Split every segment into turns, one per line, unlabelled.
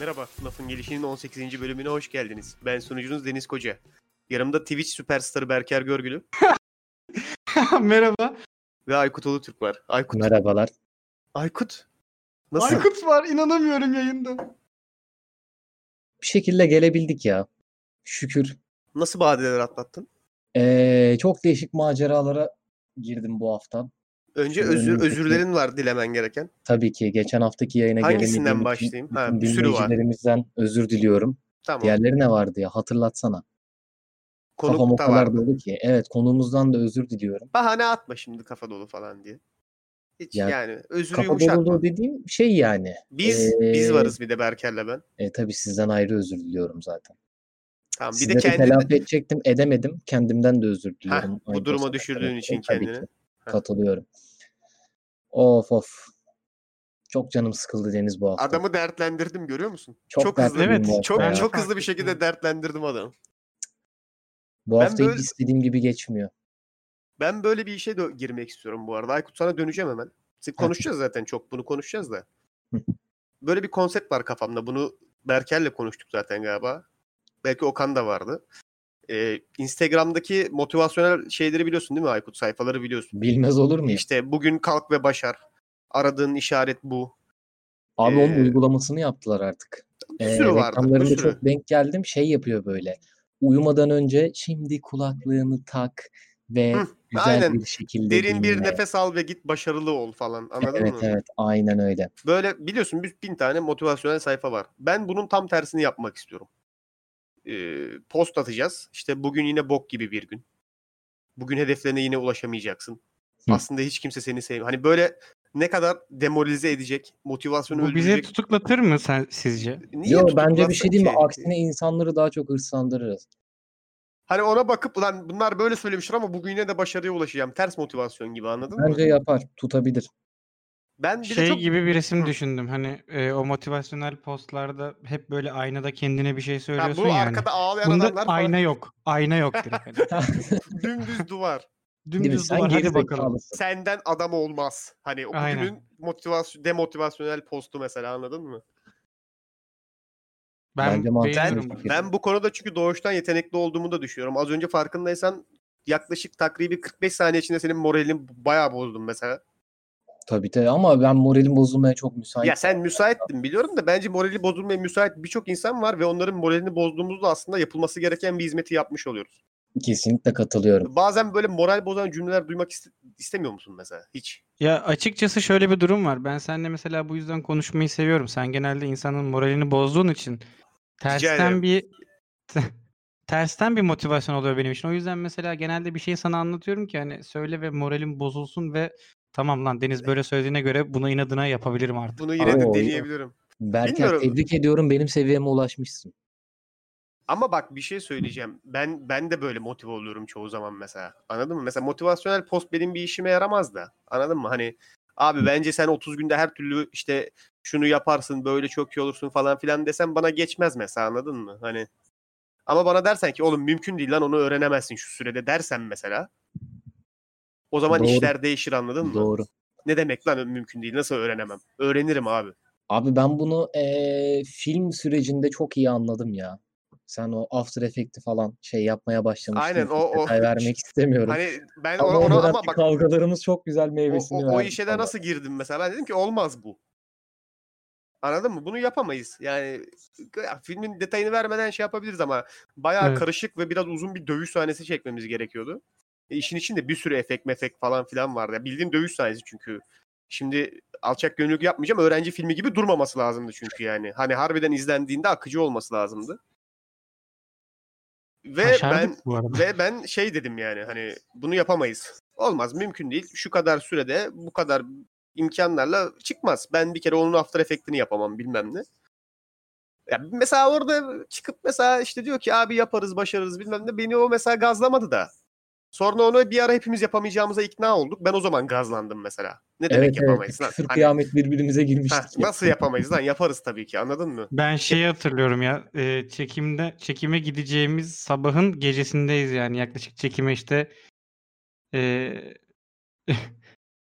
Merhaba, Lafın Gelişi'nin 18. bölümüne hoş geldiniz. Ben sunucunuz Deniz Koca. Yanımda Twitch süperstarı Berker Görgülü
Merhaba.
ve Aykut Ulutürk var. Aykut,
Merhabalar.
Aykut. Nasıl?
Aykut var inanamıyorum yayında.
Bir şekilde gelebildik ya. Şükür.
Nasıl badireler atlattın?
Ee, çok değişik maceralara girdim bu hafta.
Önce
Şimdi
özür
önümüzdeki-
özürlerin var dilemen gereken.
Tabii ki geçen haftaki yayına
Hangisinden
gelemediğim için
başlayayım? Ha,
bütün
bir sürü var.
dinleyicilerimizden özür diliyorum.
Tamam.
Diğerleri ne vardı ya hatırlatsana. Kafam o
Konuk da
kadar
vardı.
dolu ki. Evet konuğumuzdan da özür diliyorum.
Bahane atma şimdi kafa dolu falan diye. Hiç
Ya,
yani özürü
Kafa
yumuşatma.
dolu dediğim şey yani.
Biz
Ee,
biz varız bir de Berker'le ben.
E, tabii sizden ayrı özür diliyorum zaten.
Tamam bir
Sizleri
de kendini
telafi edecektim edemedim. Kendimden de özür diliyorum.
bu
Aynı
duruma
zamanda.
düşürdüğün
Evet,
için
tabii ki.
kendini. Heh.
Katılıyorum. Of of. Çok canım sıkıldı Deniz bu hafta.
adamı dertlendirdim görüyor musun?
çok,
çok
dertliyim
hızlı.
Evet,
bu hafta
Çok
Ben
ya.
de
çok hızlı
fark
bir şekilde
ettim.
dertlendirdim adamı.
Bu
ben
hafta hiç
böyle-
istediğim gibi geçmiyor.
Ben böyle bir işe dö- girmek istiyorum bu arada. Aykut sana döneceğim hemen. Sık konuşacağız zaten çok bunu konuşacağız da.
Hı.
Böyle bir konsept var kafamda. Bunu Berker'le konuştuk zaten galiba. Belki Okan da vardı. Ee, Instagram'daki motivasyonel şeyleri biliyorsun değil mi Aykut? Sayfaları biliyorsun.
Bilmez olur muyum?
İşte bugün kalk ve başar. Aradığın işaret bu.
Abi onun
Ee,
uygulamasını yaptılar artık.
Bir
Ee,
sürü vardı. Bir
reklamlarında
sürü.
çok denk geldim. Şey yapıyor böyle. Uyumadan önce şimdi kulaklığını tak ve
Hı,
güzel
aynen.
bir şekilde
Derin bir
dinle.
nefes al ve git başarılı ol falan. Anladın
Evet
mı?
evet aynen öyle.
Böyle biliyorsun bir bin tane motivasyonel sayfa var. Ben bunun tam tersini yapmak istiyorum. Ee, post atacağız. İşte bugün yine bok gibi bir gün. Bugün hedeflerine yine ulaşamayacaksın.
Hı.
Aslında hiç kimse seni sevmiyor. Hani böyle ne kadar demoralize edecek, motivasyonu
Bu bizi
öldürecek.
tutuklatır mı sen sizce?
Niye
Yo bence
tutuklatsın
bir şey değil mi?
ki?
Aksine insanları daha çok hırslandırırız.
Hani ona bakıp lan bunlar böyle söylemişler ama bugün yine de başarıya ulaşacağım. Ters motivasyon gibi anladın
Bence
mı?
şey yapar, tutabilir.
Ben bir de
Şey
çok
gibi bir resim
Hı.
düşündüm. Hani e, o motivasyonel postlarda hep böyle aynada kendine bir şey
Ha,
söylüyorsun
bu
yani.
arkada ağlayan
Bunda
adamlar falan
ayna yok. Ayna yok direkt. hani.
dümdüz duvar.
Değil mi?
Dümdüz
Sen
duvar
geri
hadi bakalım.
zekalısın.
senden adam olmaz. Hani o
Aynen.
bugünün motivasyon demotivasyonel postu mesela anladın mı?
Ben
Bence mantıklı bir
beğeniyorum.
fikir.
Ben bu konuda çünkü doğuştan yetenekli olduğumu da düşünüyorum. Az önce farkındaysan yaklaşık takribi 45 saniye içinde senin moralin bayağı bozdum mesela.
Tabii tabii ama ben moralim bozulmaya çok müsait.
Ya sen müsaittin biliyorum da bence morali bozulmaya müsait birçok insan var ve onların moralini bozduğumuzda aslında yapılması gereken bir hizmeti yapmış oluyoruz.
Kesinlikle katılıyorum.
Bazen böyle moral bozan cümleler duymak iste- istemiyor musun mesela? Hiç.
Ya açıkçası şöyle bir durum var. Ben seninle mesela bu yüzden konuşmayı seviyorum. Sen genelde insanın moralini bozduğun için
ederim.
tersten bir tersten bir motivasyon oluyor benim için. O yüzden mesela genelde bir şey sana anlatıyorum ki hani söyle ve moralim bozulsun ve tamam lan Deniz böyle söylediğine göre bunu inadına yapabilirim artık.
Bunu yine de
Oo.
deneyebilirim.
Berker
Bilmiyorum.
tebrik ediyorum. Benim seviyeme ulaşmışsın.
Ama bak bir şey söyleyeceğim. Ben ben de böyle motive oluyorum çoğu zaman mesela. Anladın mı? Mesela motivasyonel post benim bir işime yaramaz da. Anladın mı? Hani abi bence sen 30 günde her türlü işte şunu yaparsın, böyle çok iyi olursun falan filan desem bana geçmez mesela anladın mı? Hani ama bana dersen ki oğlum mümkün değil lan onu öğrenemezsin şu sürede dersen mesela. O zaman
Doğru.
işler değişir anladın mı?
Doğru.
Ne demek lan mümkün değil nasıl öğrenemem? Öğrenirim abi.
Abi ben bunu eee, film sürecinde çok iyi anladım ya. Sen o After Effect'i falan şey yapmaya başlamıştın.
Aynen, o- o-
Detay vermek istemiyorum.
Hani ben
ama
ona, ona
ondan
ama
ki
bak
kavgalarımız çok güzel
o,
meyvesini
o, o
verdi
işe de
bana.
nasıl girdim mesela? Ben dedim ki olmaz bu. Anladın mı? Bunu yapamayız. Yani ya filmin detayını vermeden şey yapabiliriz ama bayağı
Evet.
karışık ve biraz uzun bir dövüş sahnesi çekmemiz gerekiyordu. E, işin içinde bir sürü efekt mefek falan filan vardı. Ya bildiğin dövüş sahnesi çünkü. Şimdi alçak gönüllülük yapmayacağım. Öğrenci filmi gibi durmaması lazımdı çünkü yani. Hani harbiden izlendiğinde akıcı olması lazımdı. Ve ben
Başardık bu arada.
ve ben şey dedim yani hani bunu yapamayız. Olmaz mümkün değil. Şu kadar sürede bu kadar imkanlarla çıkmaz. Ben bir kere onun after efektini yapamam bilmem ne. Ya mesela orada çıkıp mesela işte diyor ki abi yaparız başarırız bilmem ne. Beni o mesela gazlamadı da. Sonra onu bir ara hepimiz yapamayacağımıza ikna olduk. Ben o zaman gazlandım mesela. Ne demek
Evet evet.
yapamayız lan?
Küfür
Hani,
kıyamet birbirimize
"Ha,
girmiştik. ya.
nasıl yapamayız lan? Yaparız tabii ki anladın mı?
Ben şeyi hatırlıyorum ya e, çekimde çekime gideceğimiz sabahın gecesindeyiz yani yaklaşık çekime işte e,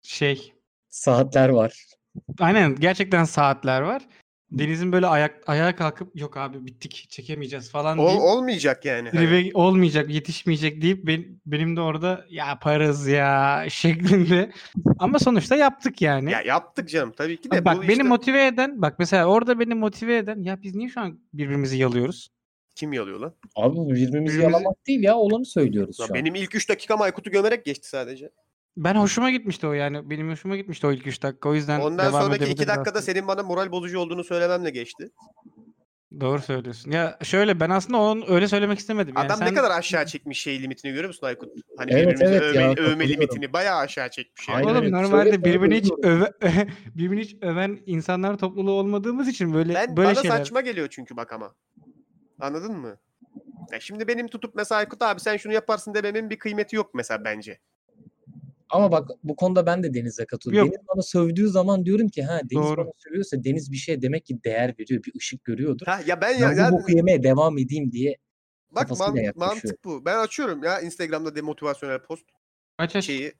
şey
Saatler var.
Aynen gerçekten saatler var. Deniz'in böyle ayak ayağa kalkıp yok abi bittik çekemeyeceğiz falan
Ol-
deyip
olmayacak yani. Hani
Rive olmayacak, yetişmeyecek deyip ben- benim de orada yaparız ya şeklinde. Ama sonuçta yaptık yani.
Ya yaptık canım tabii ki de.
bak
bu
beni
işte-
motive eden, bak mesela orada beni motive eden ya biz niye şu an birbirimizi yalıyoruz?
Kim yalıyor lan?
Abi bu birbirimizi
Birbirimizi-
yalamak değil ya olanı söylüyoruz
Lan
şu an.
benim ilk 3 dakikam Aykut'u gömerek geçti sadece.
Ben hoşuma gitmişti o yani. Benim hoşuma gitmişti o ilk 3 dakika. O yüzden
Ondan
devam
sonraki 2
edebiliriz
dakikada
aslında.
senin bana moral bozucu olduğunu söylememle geçti.
Doğru söylüyorsun. Ya şöyle ben aslında onu öyle söylemek istemedim. Yani
Adam
sen-
ne kadar aşağı çekmiş şey limitini görüyor musun Aykut? Hani
Evet,
birbirimizi
evet ya,
övme, övme
katılıyorum.
limitini bayağı aşağı çekmiş yani.
Aynen
Oğlum
öyle.
normalde
Söyle, söyle,
birbirini hiç,
duyuyorum.
öve, birbirini hiç öven insanlar topluluğu olmadığımız için böyle
Ben
böyle
bana
şeyler.
saçma geliyor çünkü bak ama. Anladın mı? Ya şimdi benim tutup mesela Aykut abi sen şunu yaparsın dememin bir kıymeti yok mesela bence.
Ama bak bu konuda ben de Deniz'e katılıyorum.
Yok.
Deniz bana sövdüğü zaman diyorum ki ha Deniz
Doğru.
bana sövüyorsa Deniz bir şeye demek ki değer veriyor, bir ışık görüyordur.
Ha ya ben ya,
Ben
ya-
bu boku yemeye devam edeyim diye
bak
kafasıyla
man-
yaklaşıyor.
mantık bu. Ben açıyorum ya Instagram'da demotivasyonel post
Aç aç.
şeyi.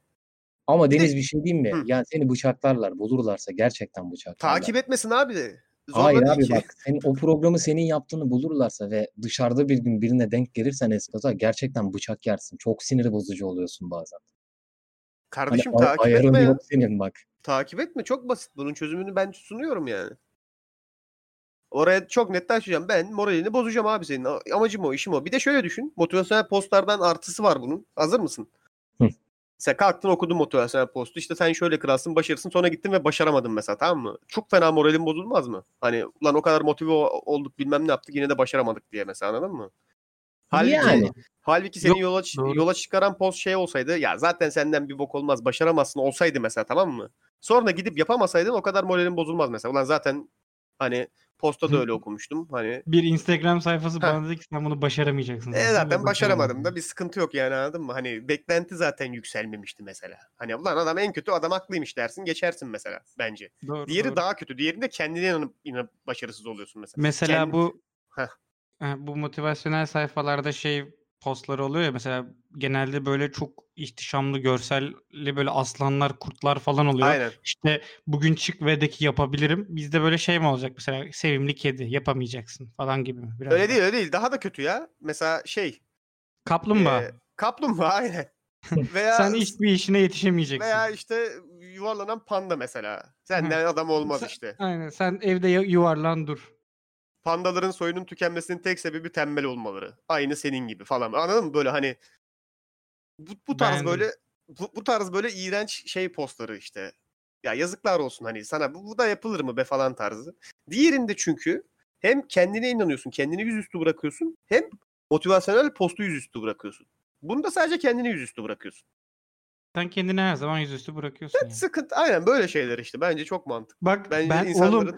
Ama
Bir de-
Deniz bir şey diyeyim mi?
Hı.
Yani seni bıçaklarlar, bulurlarsa gerçekten bıçaklarlar.
Takip etmesin abi de. Zorla
Hayır
değil
abi
ki.
bak senin, o programı senin yaptığını bulurlarsa ve dışarıda bir gün birine denk gelirsen eskaza gerçekten bıçak yersin. Çok siniri bozucu oluyorsun bazen. Hani
Kardeşim
ay-
takip
ayarın
etme ya.
yok senin bak.
Takip etme çok basit. Bunun çözümünü ben sunuyorum yani. Oraya çok net taşıyacağım. Ben moralini bozacağım abi senin. A- Amacım o, işim o. Bir de şöyle düşün. Motivasyonel postlardan artısı var bunun. Hazır mısın?
Hı.
Sen kalktın okudun motivasyonel postu. İşte sen şöyle kralsın, başarısın. Sonra gittin ve başaramadın mesela tamam mı? Çok fena moralin bozulmaz mı? Hani lan o kadar motive o- olduk bilmem ne yaptık yine de başaramadık diye mesela anladın mı? Halbuki,
Yani.
halbuki seni
Yok,
yola, çı-
doğru.
yola çıkaran post şey olsaydı ya zaten senden bir bok olmaz başaramazsın olsaydı mesela tamam mı? Sonra gidip yapamasaydın o kadar moralin bozulmaz mesela. Ulan zaten hani posta da öyle okumuştum. Hani
Bir Instagram sayfası
Heh.
bana dedi ki sen bunu başaramayacaksın.
e
sen
zaten
bunu
başaramadım da
başaramadın."
bir sıkıntı yok yani anladın mı? Hani beklenti zaten yükselmemişti mesela. Hani ulan adam en kötü adam haklıymış dersin geçersin mesela bence.
Doğru,
Diğeri
doğru.
daha kötü. Diğerinde kendine inanıp, inanıp başarısız oluyorsun mesela.
Mesela
Kend-
bu
Heh.
Ha, bu motivasyonel sayfalarda şey postları oluyor ya mesela genelde böyle çok ihtişamlı görselli böyle aslanlar, kurtlar falan oluyor.
Aynen.
İşte bugün çık ve de ki yapabilirim. Bizde böyle şey mi olacak mesela sevimli kedi yapamayacaksın falan gibi mi? Biraz
Öyle
da.
değil öyle değil. Daha da kötü ya. Mesela şey.
Kaplumbağa.
e, kaplumbağa aynen. Veya
Sen hiçbir işine yetişemeyeceksin.
Veya işte yuvarlanan panda mesela. Senden adam olmaz
Sen-
işte.
Aynen sen evde ya- yuvarlan dur.
Pandaların soyunun tükenmesinin tek sebebi tembel olmaları. Aynı senin gibi falan. Anladın mı? Böyle hani bu, bu tarz
Beğendim.
böyle bu, bu tarz böyle iğrenç şey postları işte. Ya yazıklar olsun hani sana bu, bu da yapılır mı be falan tarzı. Diğerinde çünkü hem kendine inanıyorsun, kendini yüzüstü bırakıyorsun hem motivasyonel postu yüzüstü bırakıyorsun. Bunu da sadece kendini yüzüstü bırakıyorsun.
Sen kendini her zaman yüzüstü bırakıyorsun. yani.
Sıkıntı aynen böyle şeyler işte bence çok mantıklı.
Bak
Bence
ben
insanların
oğlum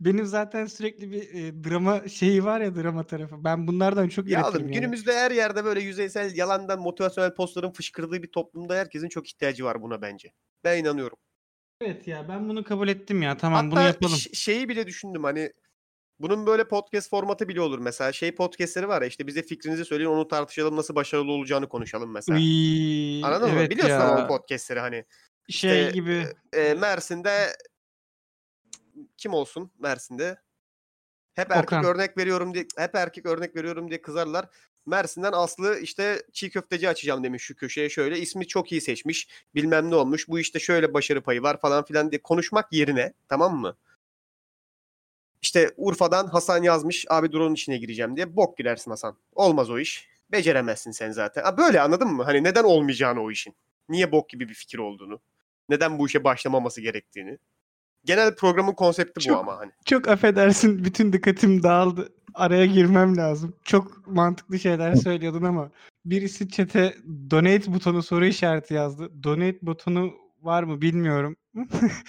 benim zaten sürekli bir e, drama şeyi var ya drama tarafı. Ben bunlardan çok
Ya
iletirim.
oğlum
yani.
günümüzde her yerde böyle yüzeysel yalandan motivasyonel postların fışkırdığı bir toplumda herkesin çok ihtiyacı var buna bence. Ben inanıyorum.
Evet ya ben bunu kabul ettim ya. Tamam bunu
Hatta
yapalım.
ş- şeyi bile düşündüm hani bunun böyle podcast formatı bile olur mesela. Şey podcastleri var ya işte bize fikrinizi söyleyin onu tartışalım nasıl başarılı olacağını konuşalım mesela.
Uy,
Anladın
evet
mı? Biliyorsun ama
ya.
o podcastleri hani.
şey
işte,
gibi
E, Mersin'de kim olsun Mersin'de? Hep erkek
Okan.
örnek veriyorum diye hep erkek örnek veriyorum diye kızarlar. Mersin'den Aslı işte çiğ köfteci açacağım demiş şu köşeye şöyle. ismi çok iyi seçmiş. Bilmem ne olmuş. Bu işte şöyle başarı payı var falan filan diye konuşmak yerine tamam mı? İşte Urfa'dan Hasan yazmış. Abi drone içine gireceğim diye. Bok girersin Hasan. Olmaz o iş. Beceremezsin sen zaten. Ha, böyle anladın mı? Hani neden olmayacağını o işin. Niye bok gibi bir fikir olduğunu. Neden bu işe başlamaması gerektiğini. Genel programın konsepti bu
Çok-
ama hani.
çok affedersin bütün dikkatim dağıldı. Araya girmem lazım. Çok mantıklı şeyler söylüyordun ama birisi çete donate butonu soru işareti yazdı. Donate butonu var mı bilmiyorum.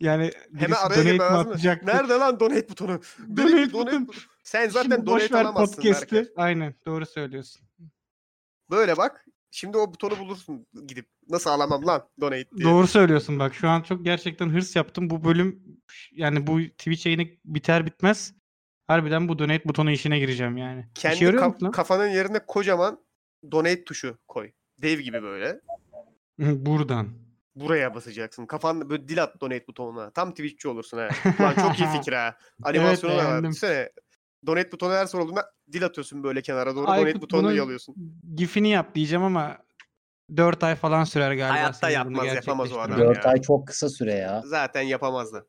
yani birisi
araya
donate mi
girmem lazım mı?
atacaktı?
Nerede lan donate butonu? Böyle bir
Donate
donate
button.
butonu- Sen zaten
Şimdi boş
donate
ver
alamazsın
podcast'i.
Berker.
Aynen doğru söylüyorsun.
Böyle bak. Şimdi o butonu bulursun gidip. Nasıl alamam lan donate diye.
Doğru söylüyorsun bak. Şu an çok gerçekten hırs yaptım. Bu bölüm yani bu Twitch yayını biter bitmez harbiden bu donate butonu işine gireceğim yani. İşe
Kendi
yarıyor
kaf-
mu şey lan?
kafanın yerine kocaman donate tuşu koy. Dev gibi böyle.
Hı, Buradan.
buraya basacaksın. Kafan böyle dil at donate butonuna. Tam Twitch'çi olursun ha. Ulan çok iyi fikir ha. Animasyonu da var.
beğendim.
Düşünsene. Donate butonu her sorulduğunda dil atıyorsun böyle kenara doğru. donate
Aykut
butonunu
bunun
yalıyorsun.
Gifini yap diyeceğim ama 4 ay falan sürer galiba.
Hayatta
senin bunu
yapmaz, yapamaz o
gerçekleştirmen.
adam.
4
ya.
ay çok kısa süre ya.
Zaten yapamazdı.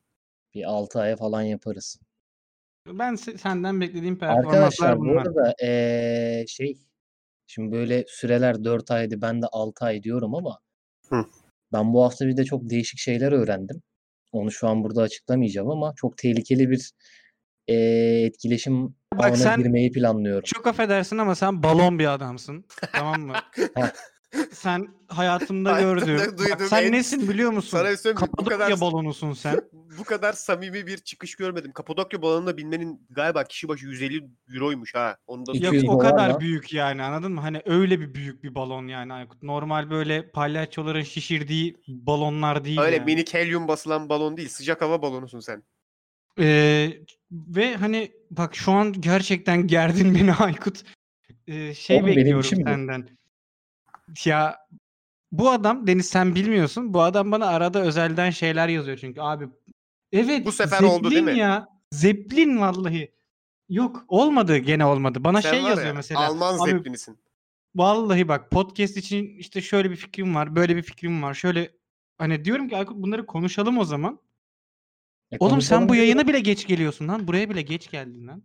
Bir 6 aya falan yaparız.
Ben se- senden beklediğim performanslar
Arkadaşlar bu
bunlar.
arada eee, şey şimdi böyle süreler 4 aydı ben de 6 ay diyorum ama
Hı.
ben bu hafta bir de çok değişik şeyler öğrendim. Onu şu an burada açıklamayacağım ama çok tehlikeli bir eee, etkileşim
Bak
ağına
sen-
girmeyi planlıyorum.
Çok affedersin ama sen balon bir adamsın. tamam mı? sen hayatımda
Hayatımda
gördüğüm. Bak
duyduğum
sen
en-
nesin biliyor musun?
Sana bir söyleyeyim mi? Bu
Kapadokya
kadar-
balonusun sen.
Bu kadar samimi bir çıkış görmedim. Kapadokya balonuna binmenin galiba kişi başı 150 euroymuş ha. Onu da
İki
Yok
yüz
o
dolar
kadar
lan.
büyük yani anladın mı? Hani öyle bir büyük bir balon yani Aykut. Normal böyle palyaçoların şişirdiği balonlar değil.
Öyle
yani.
minik helyum basılan balon değil. Sıcak hava balonusun sen.
Ee, ve hani bak şu an gerçekten gerdin beni Aykut. Ee, şey
Oğlum benim
bekliyorum
işim bu.
senden. Ya bu adam Deniz sen bilmiyorsun. Bu adam bana arada özelden şeyler yazıyor çünkü abi. Evet.
Bu sefer oldu değil
Zeppelin
mi?
ya. Zeplin vallahi. Yok olmadı gene olmadı. Bana
sen
şey
var
yazıyor
ya,
mesela.
Alman
abi
zeplinisin.
Vallahi bak podcast için işte şöyle bir fikrim var, böyle bir fikrim var. Şöyle hani diyorum ki Aykut bunları konuşalım o zaman.
E,
Oğlum sen
konuşalım
bu
diyorum.
yayına bile geç geliyorsun lan. Buraya bile geç geldin lan.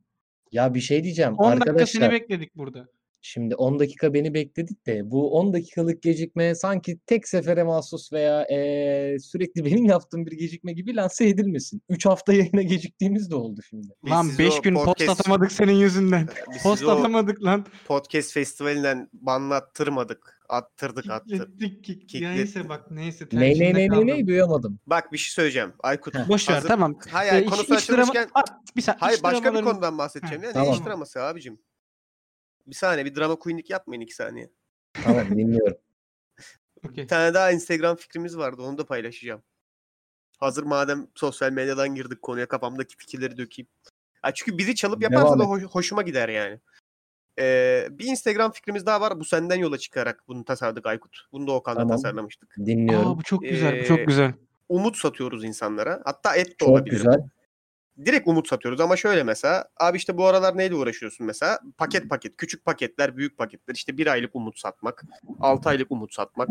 Ya bir şey diyeceğim
10 dakika
arkadaşlar.
seni bekledik burada.
Şimdi 10 dakika beni bekledik de bu 10 dakikalık gecikme sanki tek sefere mahsus veya eee, sürekli benim yaptığım bir gecikme gibi lanse edilmesin. 3 hafta yayına geciktiğimiz de oldu şimdi.
Biz
lan
sizi
5
o
gün post
podcast-
atamadık senin yüzünden.
Biz sizi
Post
o
atamadık lan.
podcast festivalinden banlattırmadık. Attırdık attırdık.
Kitlettik kick.
Kitlettik.
Neyse bak neyse.
Ne ne
tercihinde
ne ne
kaldım.
ne duyamadım.
Bak bir şey söyleyeceğim. Aykut.
Boş ver
hazır-
tamam.
Hayır
Ee,
hayır
iç-
konusu
iç drama-
açılmışken.
Aa, Ah, bir saniye.
Hayır
iç
başka bir
dramaların-
konudan bahsedeceğim
Ha,
ya. Ne
tamam.
iş draması abicim? Bir saniye bir drama queenlik yapmayın iki saniye.
Tamam dinliyorum.
Okey.
Bir tane daha Instagram fikrimiz vardı onu da paylaşacağım. Hazır madem sosyal medyadan girdik konuya kafamdaki fikirleri dökeyim. Ha, çünkü bizi çalıp yaparsa
Devam
da
et.
hoş- hoşuma gider yani. Ee, bir Instagram fikrimiz daha var. Bu senden yola çıkarak bunu tasarladık Aykut. Bunu da Okan'la
Tamam.
tasarlamıştık.
Dinliyorum.
Aa bu çok güzel. Bu çok
Ee,
güzel.
Umut satıyoruz insanlara. Hatta et de
Çok
olabilir. bu.
güzel.
direkt umut satıyoruz ama şöyle mesela abi işte bu aralar neyle uğraşıyorsun mesela paket paket küçük paketler büyük paketler işte bir aylık umut satmak 6 aylık umut satmak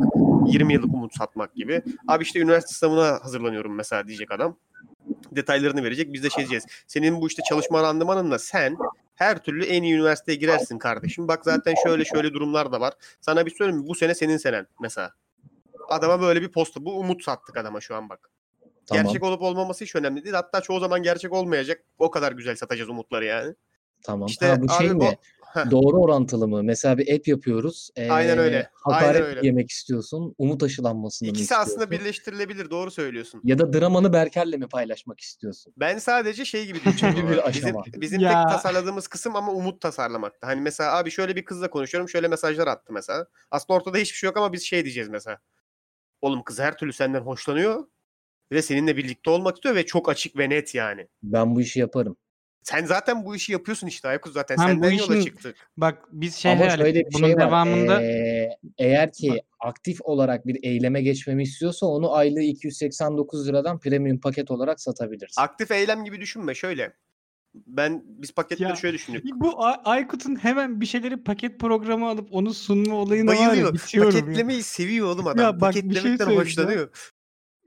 20 yıllık umut satmak gibi abi işte üniversite sınavına hazırlanıyorum mesela diyecek adam detaylarını verecek biz de şey diyeceğiz senin bu işte çalışma randımanınla sen her türlü en iyi üniversiteye girersin kardeşim bak zaten şöyle şöyle durumlar da var sana bir söyleyeyim mi bu sene senin senen mesela adama böyle bir posta bu umut sattık adama şu an bak
Tamam.
Gerçek olup olmaması hiç önemli değil. Hatta çoğu zaman gerçek olmayacak. O kadar güzel satacağız umutları yani.
Tamam.
İşte
ha bu şey
abi bu-
mi?
Heh.
Doğru orantılı mı? Mesela bir app yapıyoruz.
Aynen
eee,
öyle, aynen
hakaret
öyle.
yemek istiyorsun. Umut aşılanmasını mı
İkisi aslında
istiyorsun?
birleştirilebilir. Doğru söylüyorsun.
Ya da dramanı Berker'le mi paylaşmak istiyorsun?
Ben sadece şey gibi düşünüyorum.
Gibi bir
abi.
aşama.
Bizim, bizim
Ya.
tek tasarladığımız kısım ama umut tasarlamakta. Hani mesela abi şöyle bir kızla konuşuyorum. Şöyle mesajlar attı mesela. Aslında ortada hiçbir şey yok ama biz şey diyeceğiz mesela. Oğlum kız her türlü senden hoşlanıyor. Ve seninle birlikte olmak istiyor ve çok açık ve net yani.
Ben bu işi yaparım.
Sen zaten bu işi yapıyorsun işte Aykut zaten.
Hem bu
Senden yola
işin-
çıktık.
Bak biz şey
Ama
hayal
şöyle
ettik.
bir
Bunun
şey var.
devamında
Ee, eğer ki aktif olarak bir eyleme geçmemi istiyorsa onu aylığı 289 liradan premium paket olarak satabiliriz.
Aktif eylem gibi düşünme şöyle. Ben biz paketleri
Ya,
şöyle düşündük.
Ee,
Bu A- Aykut'un hemen bir şeyleri paket programı alıp onu sunma olayına var ya
Bayılıyor.
bitiyorum ya.
Paketlemeyi seviyor oğlum adam.
Ya bak bir şey
Paketlemekten
söyleyeceğim.
hoşlanıyor.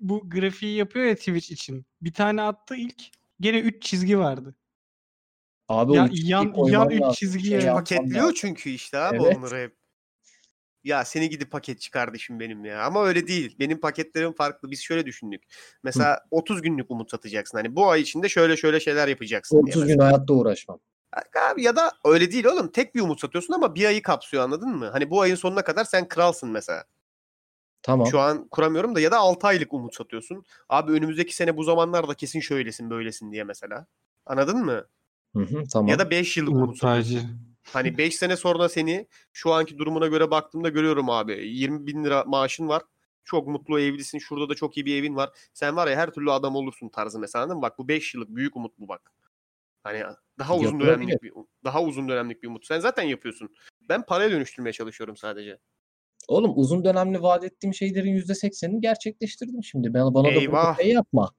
Bu grafiği yapıyor ya Twitch için. Bir tane attı ilk. Gene 3 çizgi vardı.
Abi o
ya
üç
yan-
koymam
yan üç
lazım,
çizgi
şey
ya.
yapmam
Paketliyor
lazım.
çünkü işte abi
Evet.
onları hep. Ya seni gidip paketçi kardeşim benim ya. Ama öyle değil. Benim paketlerim farklı. Biz şöyle düşündük. Mesela 30 günlük umut satacaksın. Hani bu ay içinde şöyle şöyle şeyler yapacaksın. diye
30 gün
mesela.
hayatta uğraşmam.
Abi ya da öyle değil oğlum. Tek bir umut satıyorsun ama bir ayı kapsıyor anladın mı? Hani bu ayın sonuna kadar sen kralsın mesela.
Tamam.
Şu an kuramıyorum da ya da 6 aylık umut satıyorsun. Abi önümüzdeki sene bu zamanlarda kesin şöylesin böylesin diye mesela. Anladın mı?
Hı hı, tamam.
Ya da 5 yıllık umut satıyorsun. Hani 5 sene sonra seni şu anki durumuna göre baktığımda görüyorum abi. 20 bin lira maaşın var. Çok mutlu evlisin. Şurada da çok iyi bir evin var. Sen var ya her türlü adam olursun tarzı mesela anladın mı? Bak bu 5 yıllık büyük umut bu bak. Hani daha uzun
Yapılabilir.
dönemlik bir daha uzun dönemlik bir umut. Sen zaten yapıyorsun. Ben paraya dönüştürmeye çalışıyorum sadece.
Oğlum uzun dönemli vaat ettiğim şeylerin %80'ini gerçekleştirdim şimdi. Bana, bana da burada
Eyvah.
şey yapma.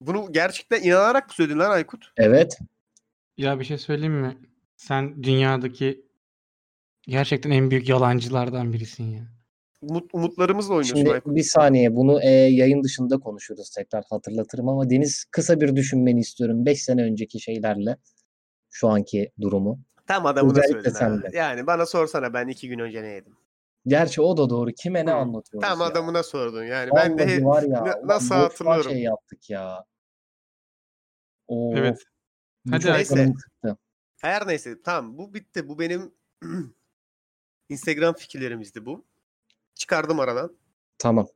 Bunu gerçekten inanarak mı söyledin lan Aykut?
Evet.
Ya bir şey söyleyeyim mi? Sen dünyadaki gerçekten en büyük yalancılardan birisin ya.
Umut, umutlarımızla oynuyorsun
Şimdi
Aykut.
bir saniye bunu e, yayın dışında konuşuruz tekrar hatırlatırım ama Deniz kısa bir düşünmeni istiyorum 5 sene önceki şeylerle şu anki durumu.
Tam adamına
özellikle
söyledin.
sen
ha.
de.
Yani bana sorsana ben iki gün önce ne yedim?
Gerçi o da doğru. Kime ne
Hı.
anlatıyoruz
Tam
ya?
adamına sordun yani. Ben de
Vallahi var ya.
na-
ulan
nasıl
boşuna
hatırlıyorum.
Şey yaptık ya. Oo,
Evet.
bu
Hadi
çok
Aykut.
canım
Neyse.
sıktı.
her neyse tamam bu bitti. Bu benim Instagram fikirlerimizdi bu. Çıkardım aradan.
Tamam.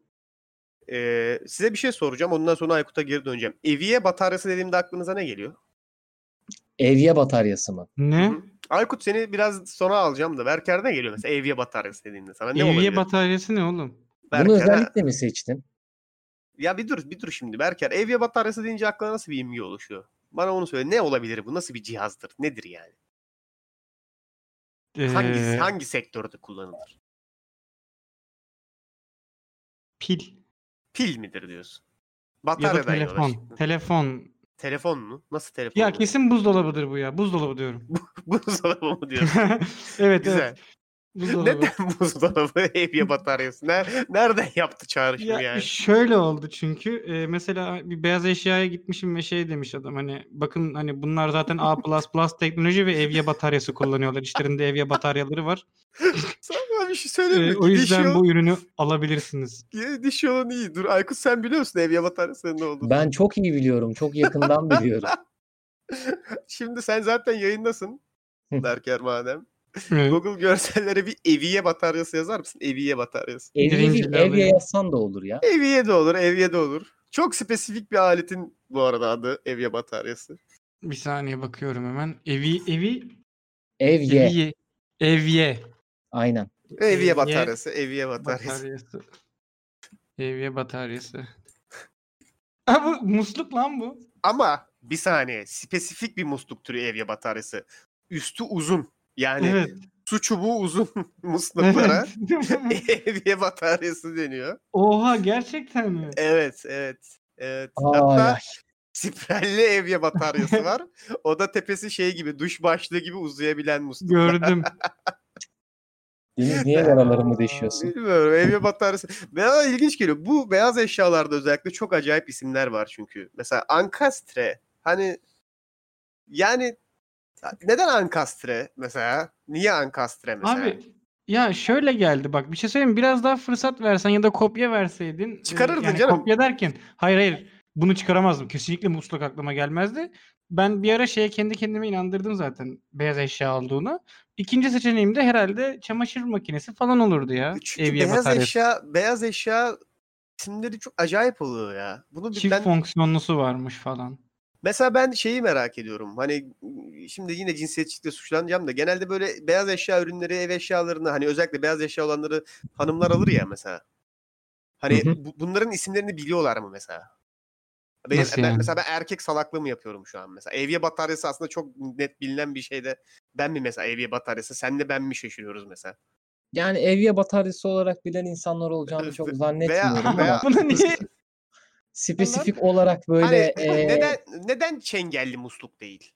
Ee, size bir şey soracağım. Ondan sonra Aykut'a geri döneceğim. Eviye bataryası dediğimde aklınıza ne geliyor?
Evye bataryası mı?
Ne?
Hı? Aykut seni biraz sonra alacağım da Berker ne geliyor mesela Eviye bataryası dediğinde sana ne
Evye
olabilir?
bataryası ne oğlum?
Berker,
Bunu
ha-
özellikle mi seçtin?
Ya bir dur bir dur şimdi Berker. Eviye bataryası deyince aklına nasıl bir imge oluşuyor? Bana onu söyle. Ne olabilir bu? Nasıl bir cihazdır? Nedir yani? Hangi
Ee,
hangi sektörde kullanılır?
Pil.
Pil midir diyorsun?
Ya da
Bataryadan yola
telefon.
çıktın.
Telefon.
Telefon mu? Nasıl telefon?
Ya
oluyor?
kesin buzdolabıdır bu ya. Buzdolabı diyorum.
Buzdolabı mı diyorsun?
evet
Güzel.
evet. Buzdolabı.
Neden buzdolabı evye bataryası? Ner- nereden yaptı çağrışımı
Ya
yani?
şöyle oldu çünkü e, mesela bir beyaz eşyaya gitmişim ve şey demiş adam hani bakın hani bunlar zaten A++ teknoloji ve evye bataryası kullanıyorlar. İçlerinde evye bataryaları var.
Sana bir şey
E,
söyleyeyim mi?
o
Gidiş
yüzden
yol-
bu ürünü alabilirsiniz.
Gidiş yolun iyi. Dur Aykut sen biliyor musun evye bataryasının ne olduğunu?
Ben çok iyi biliyorum. Çok yakından biliyorum.
Şimdi sen zaten yayındasın.
Hı.
Berker madem.
Evet.
Google görsellere bir eviye bataryası yazar mısın? Eviye bataryası.
Evye değil,
Birinciliği
evye
alıyorum.
yazsan da olur ya.
Eviye de olur, evye de olur. Çok spesifik bir aletin bu arada adı evye bataryası.
Bir saniye bakıyorum hemen. Evi evi
Evye.
eviye evye
Aynen.
Eviye
Evye
bataryası, eviye bataryası.
bataryası. Evye bataryası. Ha bu musluk lan bu.
Ama bir saniye, spesifik bir musluk türü evye bataryası. Üstü uzun. Yani
Evet.
su çubuğu uzun musluklara
evet.
evye bataryası deniyor.
Oha gerçekten mi?
Evet, evet. Evet.
Ay,
Hatta
ay.
Spiralli evye bataryası var. O da tepesi şey gibi duş başlığı gibi uzayabilen musluk.
Gördüm.
Deniz niye yaralarımı deşiyorsun?
Bilmiyorum evye bataryası. Bana ilginç geliyor. Bu beyaz eşyalarda özellikle çok acayip isimler var çünkü. Mesela ankastre. Hani yani neden ankastre mesela? Niye ankastre mesela?
Abi ya şöyle geldi bak bir şey söyleyeyim mi? biraz daha fırsat versen ya da kopya verseydin. e,
Çıkarırdın canım.
Kopya derken hayır hayır bunu çıkaramazdım. Kesinlikle musluk aklıma gelmezdi. Ben bir ara şeye kendi kendime inandırdım zaten beyaz eşya olduğunu. İkinci seçeneğim de herhalde çamaşır makinesi falan olurdu ya.
Çünkü
Evye
beyaz
bataryası.
eşya beyaz eşya isimleri çok acayip oluyor ya. Bunu bir-
Çift
ben
fonksiyonlusu varmış falan.
Mesela ben şeyi merak ediyorum. Hani şimdi yine cinsiyetçilikle suçlanacağım da genelde böyle beyaz eşya ürünleri, ev eşyalarını hani özellikle beyaz eşya olanları hanımlar alır ya mesela. Hani
Hı hı.
bu- bunların isimlerini biliyorlar mı mesela? Benim,
Nasıl
ben-
yani?
Mesela ben erkek salaklığı mı yapıyorum şu an mesela? Evye bataryası aslında çok net bilinen bir şey de ben mi mesela evye bataryası senle ben mi şaşırıyoruz mesela?
Yani evye bataryası olarak bilen insanlar olacağını çok
Veya-
zannetmiyorum ama
veya-
Bunu niye?
spesifik olarak böyle
hani
e,
neden neden çengelli musluk değil?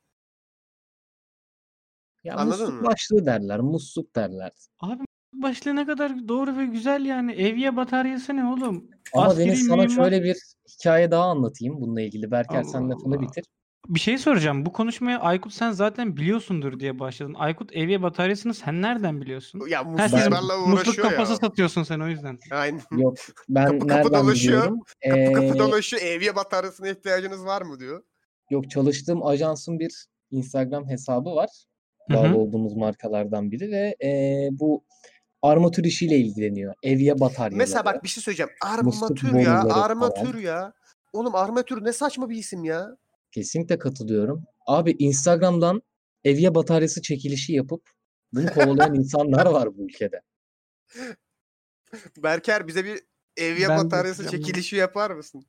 ya
anladın
musluk
mı?
başlığı derler, muslluk derler.
Abi başlığı ne kadar doğru ve güzel yani. Evye bataryası ne oğlum?
Ama
Askeri
Deniz sana
mühimmat-
şöyle bir hikaye daha anlatayım bununla ilgili. Berker sen
Allah
lafını
Allah.
bitir.
Bir şey soracağım. Bu konuşmaya Aykut sen zaten biliyorsundur diye başladın. Aykut evye bataryasını sen nereden biliyorsun?
Ya
Ha, siz
musluklarla
musluk
uğraşıyor
kafası
ya.
satıyorsun sen o yüzden.
Aynen.
Yok ben
Kapı kapı
nereden
dolaşıyor,
biliyorum?
Kapı
Ee,
kapı dolaşıyor. Evye bataryasına ihtiyacınız var mı diyor.
Yok çalıştığım ajansın bir Instagram hesabı var.
Hı hı.
Bağlı olduğumuz markalardan biri ve eee, bu armatür işiyle ilgileniyor. Evye bataryaları.
Mesela bak bir şey söyleyeceğim. Armatür
boruları
ya.
falan.
Armatür ya. Oğlum armatür ne saçma bir isim ya.
Kesinlikle katılıyorum. Abi Instagram'dan evye bataryası çekilişi yapıp bunu kovalayan insanlar var bu ülkede.
Berker bize bir evye
Ben
bataryası
bakacağım bunu.
çekilişi yapar mısın?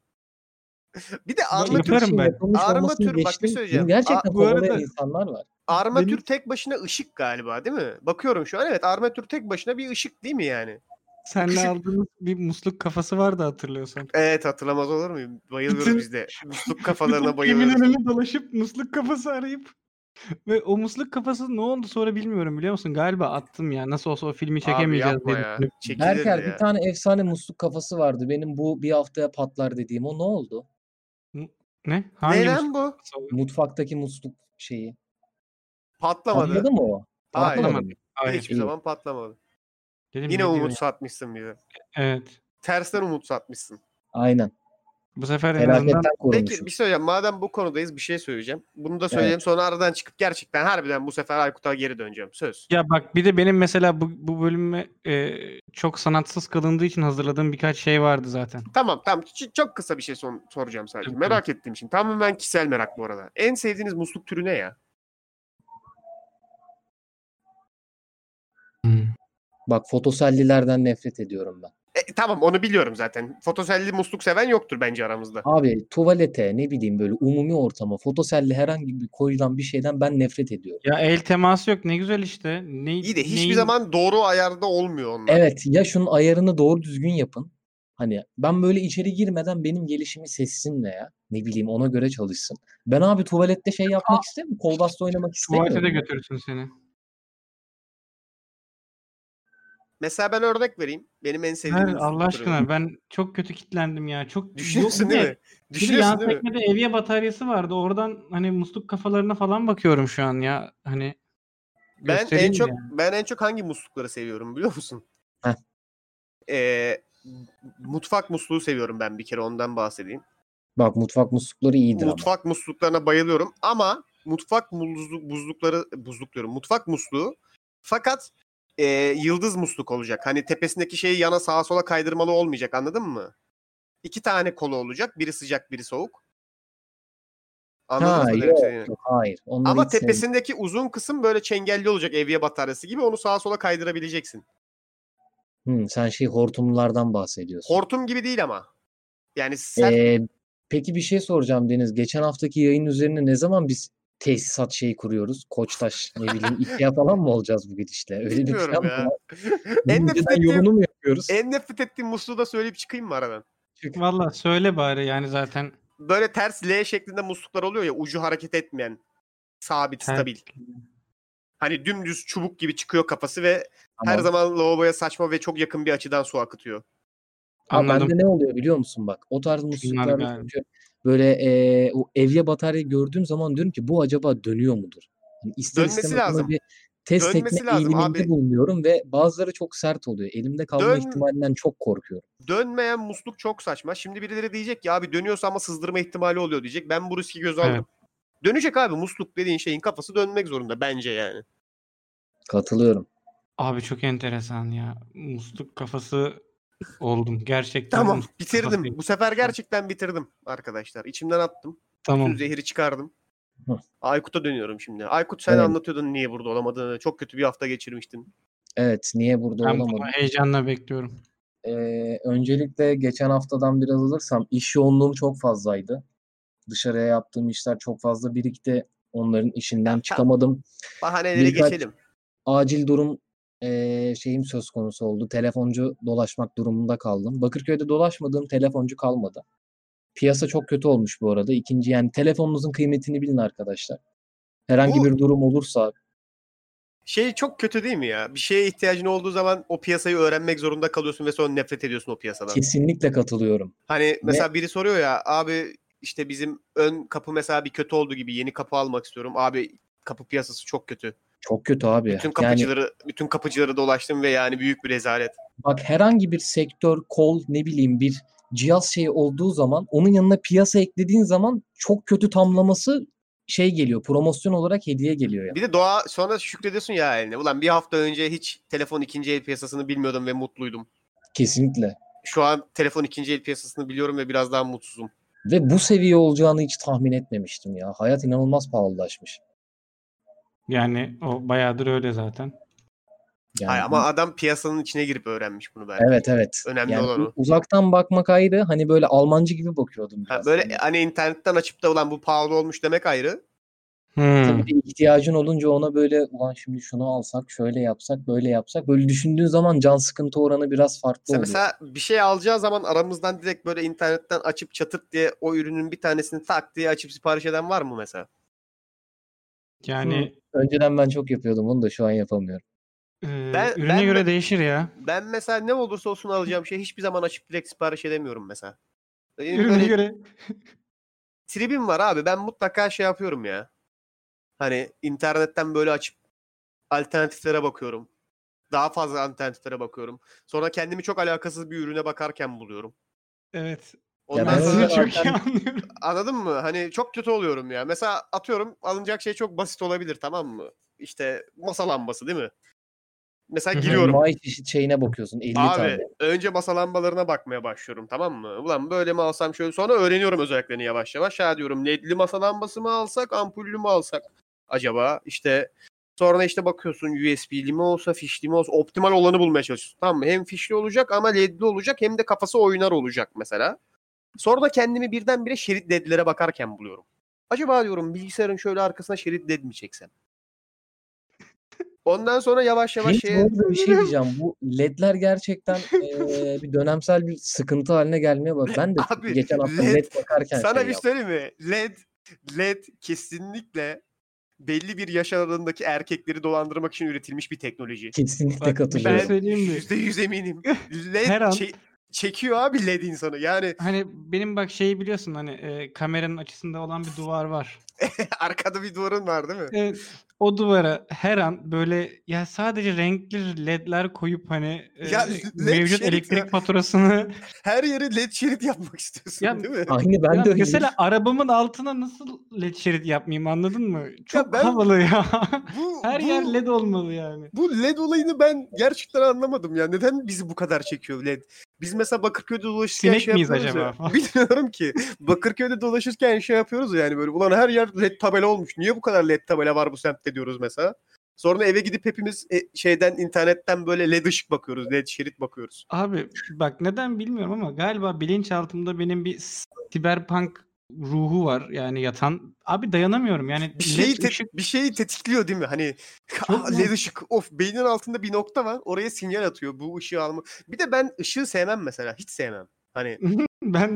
bir de
Ya
armatür
yaparım
işin
ben.
yapılmış
Armatür,
olmasını
bak bir şey
geçtim. Bunu
söyleyeceğim.
Gerçekten
Aa, bu
kovalayan
arada-
insanlar var.
Armatür
Benim-
tek başına ışık galiba değil mi? Bakıyorum şu an evet armatür tek başına bir ışık değil mi yani?
Senle
Küçük-
aldığımız bir musluk kafası vardı hatırlıyorsan.
Evet hatırlamaz olur muyum? Bayılıyoruz
Bütün-
biz de. Musluk
Bütün
kafalarına
Kimin
bayılıyoruz.
önüne dolaşıp musluk kafası arayıp ve o musluk kafası ne oldu sonra bilmiyorum biliyor musun? Galiba attım ya. Nasıl olsa o filmi
Abi
çekemeyeceğiz
yapma
diye
ya.
düşünüp.
Çekilirdi
Berker bir
ya.
tane efsane musluk kafası vardı. Benim bu bir haftaya patlar dediğim o ne oldu?
Ne? Hangi
Ne
musluk
lan bu?
kafası o?
Mutfaktaki musluk şeyi.
Patlamadı.
Patladı mı o?
Hayır.
Patlamadı. mı?
Hayır.
Hiçbir
İyi.
zaman patlamadı.
Dedim, ne
Yine
diyor
umut
ya?
satmışsın bize.
Evet.
Tersten umut satmışsın.
Aynen.
Bu sefer en azından
Felaketten
Peki
korumuşum.
bir şey söyleyeceğim. Madem bu konudayız bir şey söyleyeceğim. Bunu da söyleyeyim sonra aradan çıkıp gerçekten harbiden bu sefer Aykut'a geri döneceğim. Söz.
Ya bak bir de benim mesela bu, bu bölüme e, çok sanatsız kalındığı için hazırladığım birkaç şey vardı zaten.
Tamam tamam. Ç- çok kısa bir şey son- soracağım sadece.
Tabii,
Merak ettiğim için. Tamamen kişisel merak bu arada. En sevdiğiniz musluk türü ne ya?
Bak fotosellilerden nefret ediyorum ben.
E, tamam onu biliyorum zaten. Fotoselli musluk seven yoktur bence aramızda.
Abi tuvalete ne bileyim böyle umumi ortama fotoselli herhangi bir koyulan bir şeyden ben nefret ediyorum.
Ya el teması yok ne güzel işte. Ne,
İyi de hiçbir
neyin-
zaman doğru ayarda olmuyor onlar.
Evet ya şunun ayarını doğru düzgün yapın. Hani ben böyle içeri girmeden benim gelişimi sessin veya ne bileyim ona göre çalışsın. Ben abi tuvalette şey yapmak istemiyorum. Kol bastı oynamak istemiyorum.
Tuvalete de
ya.
götürsün seni.
Mesela ben örnek vereyim. Benim en sevdiğim
Ver
musluk
Allah
türü.
aşkına ben çok kötü kitlendim ya. Çok
Düşünüyorsun
Yok, bir
değil
de-
mi?
bir de yan
Düşünüyorsun değil mi?
sekmede evye bataryası vardı. Oradan hani musluk kafalarına falan bakıyorum şu an ya. Hani
Ben en
göstereyim
çok
mi
ben en çok hangi muslukları seviyorum biliyor musun?
Heh.
Ee, m- mutfak musluğu seviyorum ben bir kere ondan bahsedeyim.
Bak mutfak muslukları iyidir ama.
mutfak musluklarına bayılıyorum ama mutfak muzlu, buzlukları buzluk diyorum. Mutfak musluğu fakat e, yıldız musluk olacak. Hani tepesindeki şeyi yana sağa sola kaydırmalı olmayacak anladın mı? İki tane kolu olacak. Biri sıcak biri soğuk. Anladınız
Ha
mı? demek
yok,
istediğimi?
yok, hayır. Onları
Ama
hiç sevmem.
tepesindeki uzun kısım böyle çengelli olacak evye bataryası gibi onu sağa sola kaydırabileceksin.
Hmm, sen şey hortumlardan bahsediyorsun.
Hortum gibi değil ama. Yani sert
Ee, peki bir şey soracağım Deniz. Geçen haftaki yayın üzerine ne zaman biz tesisat şeyi kuruyoruz? Koçtaş ne bileyim İKEA falan mı olacağız bu gidişle? Öyle bir
bilmiyorum
plan mı
ya.
var?
en,
Bunun
nefret
önceden
ettiğim,
yolunu mu yapıyoruz?
en nefret ettiğim musluğu da söyleyip çıkayım mı aradan?
ya? Valla söyle bari yani zaten.
Böyle ters L şeklinde musluklar oluyor ya ucu hareket etmeyen sabit
Ters.
stabil. Hani dümdüz çubuk gibi çıkıyor kafası ve
Tamam.
her zaman lavaboya saçma ve çok yakın bir açıdan su akıtıyor.
Abi
Anladım.
bende ne oluyor biliyor musun bak? O tarz musluklarda
galiba.
çünkü böyle e, o evye bataryayı gördüğüm zaman diyorum ki bu acaba dönüyor mudur? Hani ister
Dönmesi
istemez ona
lazım.
bir test
Dönmesi
etme
lazım
eğiliminde
abi.
bulunuyorum ve bazıları çok sert oluyor. Elimde kalma
Dön-
ihtimalinden çok korkuyorum.
Dönmeyen musluk çok saçma. Şimdi birileri diyecek ki abi dönüyorsa ama sızdırma ihtimali oluyor diyecek. Ben bu riski göze aldım.
Evet.
Dönecek abi musluk dediğin şeyin kafası dönmek zorunda bence yani.
Katılıyorum.
Abi çok enteresan ya. Musluk kafası oldum. Gerçekten
Tamam
musluk kafasıyım.
bitirdim. Bu sefer gerçekten bitirdim arkadaşlar. İçimden attım.
Tamam.
Bütün zehri çıkardım.
Hı.
Aykut'a dönüyorum şimdi. Aykut sen
Evet.
anlatıyordun niye burada olamadığını. Çok kötü bir hafta geçirmiştin.
Evet, niye burada
Ben
olamadım?
bunu heyecanla bekliyorum.
Ee, öncelikle geçen haftadan biraz alırsam iş yoğunluğum çok fazlaydı. Dışarıya yaptığım işler çok fazla birikti. Onların işinden
tamam.
çıkamadım.
Bahaneleri
Birkaç-
geçelim.
Acil durum ee, şeyim söz konusu oldu. Telefoncu dolaşmak durumunda kaldım. Bakırköy'de dolaşmadığım telefoncu kalmadı. Piyasa çok kötü olmuş bu arada. İkinci yani telefonunuzun kıymetini bilin arkadaşlar. Herhangi
Bu-
bir durum olursa
Şey çok kötü değil mi ya? Bir şeye ihtiyacın olduğu zaman o piyasayı öğrenmek zorunda kalıyorsun ve sonra nefret ediyorsun o piyasadan.
kesinlikle katılıyorum.
Hani mesela biri soruyor ya abi işte bizim ön kapı mesela bir kötü oldu gibi yeni kapı almak istiyorum. Abi kapı piyasası çok kötü.
Çok kötü abi.
Bütün
Yani
kapıcıları bütün kapıcıları dolaştım ve yani büyük bir rezalet.
Bak herhangi bir sektör, kol, ne bileyim bir cihaz şeyi olduğu zaman onun yanına piyasa eklediğin zaman çok kötü tamlaması şey geliyor. Promosyon olarak hediye geliyor yani.
Bir de doğa sonra şükrediyorsun ya eline. Ulan bir hafta önce hiç telefon ikinci el piyasasını bilmiyordum ve mutluydum.
Kesinlikle.
Şu an telefon ikinci el piyasasını biliyorum ve biraz daha mutsuzum.
Ve bu seviye olacağını hiç tahmin etmemiştim ya. Hayat inanılmaz pahalılaşmış.
Yani o bayağıdır öyle zaten.
Yani
Hayır,
bu-
ama adam piyasanın içine girip öğrenmiş bunu belki.
evet evet.
Önemli
Yani
olan
u-
o.
uzaktan bakmak ayrı. Hani böyle Almancı gibi bakıyordum
Ha,
biraz.
böyle
Hani
hani internetten açıp da ulan bu pahalı olmuş demek ayrı.
Hmm.
Tabii de ihtiyacın olunca ona böyle ulan şimdi şunu alsak, şöyle yapsak, böyle yapsak. Böyle düşündüğün zaman can sıkıntı oranı biraz farklı
Sen
oluyor.
mesela bir şey alacağı zaman aramızdan direkt böyle internetten açıp çatırt diye o ürünün bir tanesini tak diye açıp sipariş eden var mı mesela?
Yani
Önceden ben çok yapıyordum onu da şu an yapamıyorum.
e,
Ben-
ürüne
ben-
göre değişir ya.
Ben mesela ne olursa olsun alacağım şey hiçbir zaman açıp direkt sipariş edemiyorum mesela. Benim
Ürüne
böyle
göre.
tribim var abi. Ben mutlaka şey yapıyorum ya. Hani internetten böyle açıp alternatiflere bakıyorum. Daha fazla alternatiflere bakıyorum. Sonra kendimi çok alakasız bir ürüne bakarken buluyorum.
Evet.
Ya
Ondan
Ben
ben
sonra
seni
zaten-
çok iyi anlıyorum.
anladın mı? Hani çok kötü oluyorum ya. Mesela atıyorum alınacak şey çok basit olabilir tamam mı? İşte masa lambası değil mi?
Hı
Mesela
hı.
giriyorum.
May çeşit şeyine bakıyorsun 50
Abi
tane.
önce masa lambalarına bakmaya başlıyorum tamam mı? Ulan böyle mi alsam şöyle sonra öğreniyorum özelliklerini yavaş yavaş. Ha diyorum ledli masa lambası mı alsak ampullü mü alsak acaba? İşte sonra işte bakıyorsun USB'li mi olsa fişli mi olsa optimal olanı bulmaya çalışıyorsun. Tamam mı? Hem fişli olacak ama ledli olacak hem de kafası oynar olacak mesela. Sonra da kendimi birdenbire şerit ledlere bakarken buluyorum. Acaba diyorum bilgisayarın şöyle arkasına şerit led mi çeksem? Ondan sonra yavaş yavaş
Neyse,
şeye...
bu arada bir şey diyeceğim. Bu ledler gerçekten eee, bir dönemsel bir sıkıntı haline gelmeye bak. Ben de
Abi,
geçen hafta
led-
led bakarken
Sana
şey
bir
yaptım.
söyleyeyim mi? LED LED kesinlikle belli bir yaş aralığındaki erkekleri dolandırmak için üretilmiş bir teknoloji.
Kesinlikle
Bak, bir şey
katılıyorum.
söyleyeyim mi?
Yüzde yüz eminim. LED
Her an-
çe- çekiyor abi LED insanı. Yani
Hani benim bak şeyi biliyorsun hani e, kameranın açısında olan bir duvar var.
arkada bir duvarın var değil mi?
Evet, o duvara her an böyle ya sadece renkli ledler koyup hani e,
Ya led şey-
mevcut
şerit ya.
elektrik faturasını
Her yere LED şerit yapmak istiyorsun
Ya-
değil mi?
Aynı ben
Ya
de öyle.
mesela arabamın altına nasıl led şerit yapmayayım anladın mı? Çok
ben-
havalı ya.
Bu,
her
bu,
yer led olmalı yani.
Bu LED olayını ben gerçekten anlamadım ya. Neden bizi bu kadar çekiyor LED? Biz mesela Bakırköy'de dolaşırken
Sinek
şey
miyiz
yapıyoruz ya.
acaba?
Bilmiyorum ki. Bakırköy'de dolaşırken şey yapıyoruz yani böyle. Ulan her yer LED tabela olmuş. Niye bu kadar LED tabela var bu semtte diyoruz mesela. Sonra eve gidip hepimiz e, şeyden internetten böyle LED ışık bakıyoruz. LED şerit bakıyoruz.
Abi bak neden bilmiyorum ama galiba bilinçaltımda benim bir siberpunk ruhu var yani yatan. Abi dayanamıyorum yani
Bir şeyi,
led
te-
E ışık
bir şeyi tetikliyor değil mi? Hani "Ah,
mu-
LED ışık of beynin altında bir nokta var. Oraya sinyal atıyor bu ışığı alma. Bir de ben ışığı sevmem mesela. Hiç sevmem. Hani
ben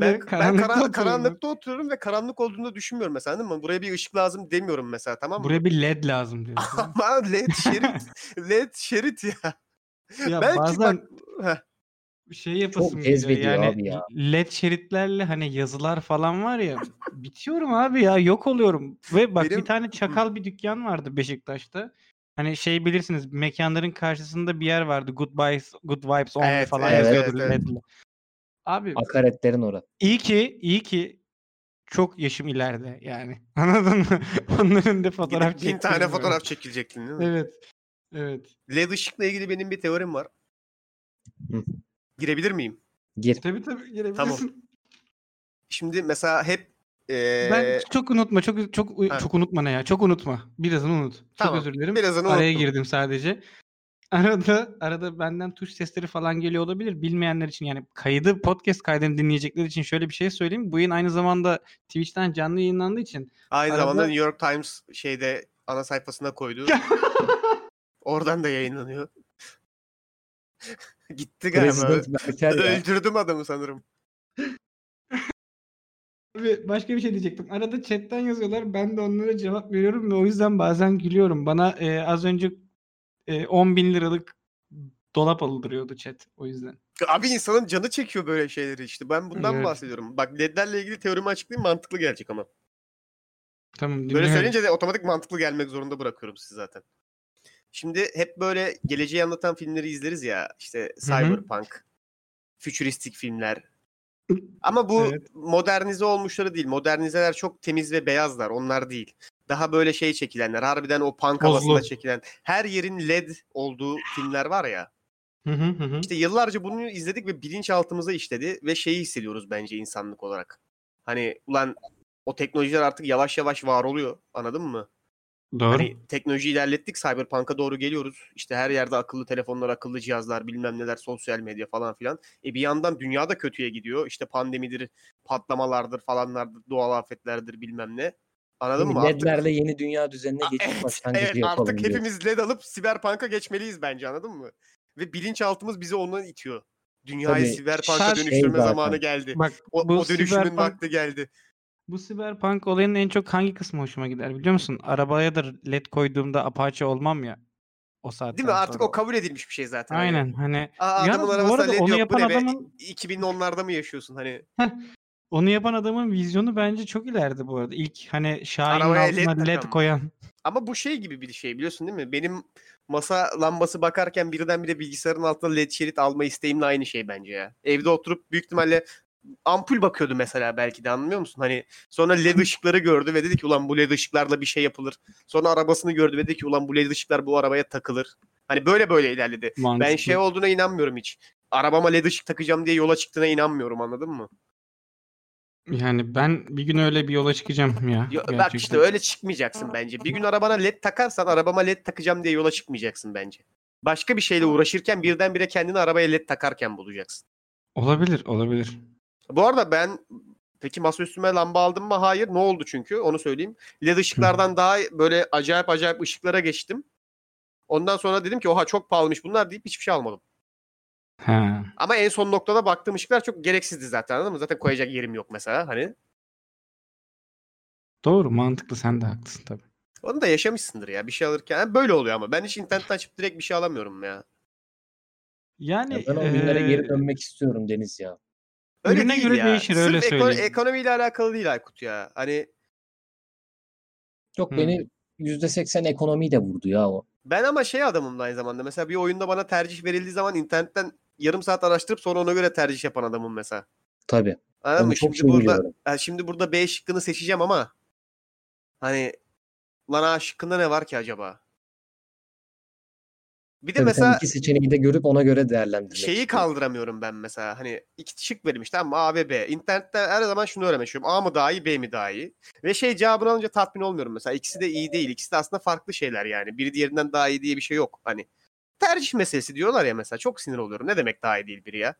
Ben,
de
ben
karanlıkta
karan-
oturuyorum.
karanlıkta oturuyorum ve karanlık olduğunu düşünmüyorum mesela değil mi? Buraya bir ışık lazım demiyorum mesela tamam mı?
Buraya bir led lazım diyorsun.
Ama led şerit, led şerit ya.
ya
Belki
bazen
bak Heh,
şey yapasım
cezbediyor
yani
abi ya.
led şeritlerle hani yazılar falan var ya bitiyorum abi ya yok oluyorum ve bak
Benim-
bir tane çakal bir dükkan vardı Beşiktaş'ta hani şey bilirsiniz mekanların karşısında bir yer vardı good vibes good vibes only
Evet,
falan
evet,
yazıyordu
evet, evet.
ledle. Abi
Akaretlerin orası.
iyi ki iyi ki çok yaşım ileride yani anladın mı onların da fotoğraf
gidip bin tane
çektirmiyorum.
fotoğraf çekilecektin değil mi?
evet evet
Led ışıkla ilgili benim bir teorim var.
Hı.
Girebilir miyim?
Gir.
tabii tabii girebilirsin.
Şimdi mesela hep ee,
Ben çok unutma, çok çok
Ha.
çok unutma ne ya? Çok unutma. Birazını unut.
Tamam,
Çok özür dilerim.
birazını
Araya
unuttum.
girdim sadece. Arada arada benden tuş sesleri falan geliyor olabilir. Bilmeyenler için yani kaydı podcast kaydını dinleyecekler için şöyle bir şey söyleyeyim. Bu yayın aynı zamanda Twitch'ten canlı yayınlandığı için
aynı
arada-
zamanda New York Times şeyde ana sayfasına koydu. Oradan da yayınlanıyor. Gitti galiba.
Resident Berker
şey
ya. Hani
Öldürdüm adamı sanırım.
Ve başka bir şey diyecektim. Arada chatten yazıyorlar. Ben de onlara cevap veriyorum ve o yüzden bazen gülüyorum. Bana e, az önce e, 10 bin liralık dolap aldırıyordu chat. O yüzden.
Abi insanın canı çekiyor böyle şeyleri işte. Ben bundan
Evet.
bahsediyorum. Bak ledlerle ilgili teorimi açıklayayım mantıklı gelecek ama.
Tamam
Böyle söyleyince de otomatik mantıklı gelmek zorunda bırakıyorum sizi zaten. Şimdi hep böyle geleceği anlatan filmleri izleriz ya. işte cyberpunk, fütüristik filmler. Ama bu
Evet.
modernize olmuşları değil. Modernizeler çok temiz ve beyazlar. Onlar değil. Daha böyle şey çekilenler. Harbiden o punk
Tozlu.
havasında çekilen. Her yerin led olduğu filmler var ya.
Hı hı hı hı.
İşte yıllarca bunu izledik ve bilinçaltımıza işledi ve şeyi hissediyoruz bence insanlık olarak. Hani ulan o teknolojiler artık yavaş yavaş var oluyor. Anladın mı?
Doğru.
Hani teknoloji ilerlettik, Cyberpunk'a doğru geliyoruz. İşte her yerde akıllı telefonlar, akıllı cihazlar, bilmem neler, sosyal medya falan filan. E bir yandan dünya da kötüye gidiyor. İşte pandemidir, patlamalardır falanlardır, doğal afetlerdir bilmem ne. Anladın mı? Artık-
LED'lerle yeni dünya düzenine
A-
geçiş
evet,
başlangıcı
evet
yapalım
artık
diyor.
hepimiz led alıp siberpunk'a geçmeliyiz bence anladın mı? Ve bilinçaltımız bizi ondan itiyor. Dünyayı
Tabii,
siberpunk'a
şarj-
dönüştürme
Şey
zamanı
zaten.
geldi.
Bak
O,
bu
o dönüşümün
Cyberpunk-
vakti geldi.
Bu Cyberpunk olayının en çok hangi kısmı hoşuma gider biliyor musun? Arabaya da led koyduğumda Apache olmam ya. O saatten
Değil mi? Artık
sonra.
o kabul edilmiş bir şey zaten. hani.
Aynen hani
Aa,
Yalnız
adamın
bu
arabasında
arada
led
onu
yok.
yapan
bu ne be?
adamın-
2010'larda mı yaşıyorsun hani?
onu yapan adamın vizyonu bence çok ileride bu arada. İlk hani Şahin'in
Arabaya led
altına led,
takan mı?
koyan.
Ama bu şey gibi bir şey biliyorsun değil mi? Benim masa lambası bakarken birdenbire bilgisayarın altına led şerit alma isteğimle aynı şey bence ya. Evde oturup büyük ihtimalle ampul bakıyordu mesela belki de anlıyor musun? Hani sonra led ışıkları gördü ve dedi ki ulan bu led ışıklarla bir şey yapılır. Sonra arabasını gördü ve dedi ki ulan bu led ışıklar bu arabaya takılır. Hani böyle böyle ilerledi. Ben
Mantıklı.
şey olduğuna inanmıyorum hiç. Arabama led ışık takacağım diye yola çıktığına inanmıyorum anladın mı?
Yani ben bir gün öyle bir yola çıkacağım ya.
Yo- bak
gerçekten.
işte öyle çıkmayacaksın bence. Bir gün arabana led takarsan arabama led takacağım diye yola çıkmayacaksın bence. Başka bir şeyle uğraşırken birdenbire kendini arabaya led takarken bulacaksın.
Olabilir, olabilir.
Bu arada ben peki masaüstüme lamba aldım mı? Hayır. Ne oldu çünkü? Onu söyleyeyim. Led ışıklardan daha böyle acayip acayip ışıklara geçtim. Ondan sonra dedim ki oha çok pahalıymış bunlar deyip hiçbir şey almadım.
Ha.
Ama en son noktada baktığım ışıklar çok gereksizdi zaten anladın mı? Zaten koyacak yerim yok mesela hani.
Doğru, mantıklı. Sen de haklısın tabii.
Onu da yaşamışsındır ya bir şey alırken. Ha, Böyle oluyor ama ben hiç internetten açıp direkt bir şey alamıyorum ya.
Yani
Ya ben o günlere geri
eee,
dönmek istiyorum Deniz ya.
Ürüne
değil
göre değişir,
Sırf
öyle
eko-
söyleyeyim.
ekonomiyle alakalı değil Aykut ya. Hani
Çok
Hmm.
beni %80 ekonomiyi de vurdu ya o.
ben ama şey adamım da aynı zamanda. Mesela bir oyunda bana tercih verildiği zaman internetten yarım saat araştırıp sonra ona göre tercih yapan adamım mesela.
Tabii.
Anladın
onu
mı?
çok
Şimdi
şey
burada,
biliyorum.
ha, şimdi burada B şıkkını seçeceğim ama hani lan A şıkkında ne var ki acaba? Bir de
Tabii sen
mesela
iki seçeneği de görüp ona göre değerlendirmek.
şeyi
istiyorum. tamam
kaldıramıyorum ben mesela. Hani iki şık verilmiş tamam mı? A ve B. İnternette her zaman şunu öğrenmek istiyorum. A mı daha iyi B mi daha iyi? Ve şey cevabını alınca tatmin olmuyorum mesela. İkisi de iyi değil. İkisi de aslında farklı şeyler yani. Biri diğerinden daha iyi diye bir şey yok. Hani tercih meselesi diyorlar ya mesela. Çok sinir oluyorum. Ne demek daha iyi değil biri ya?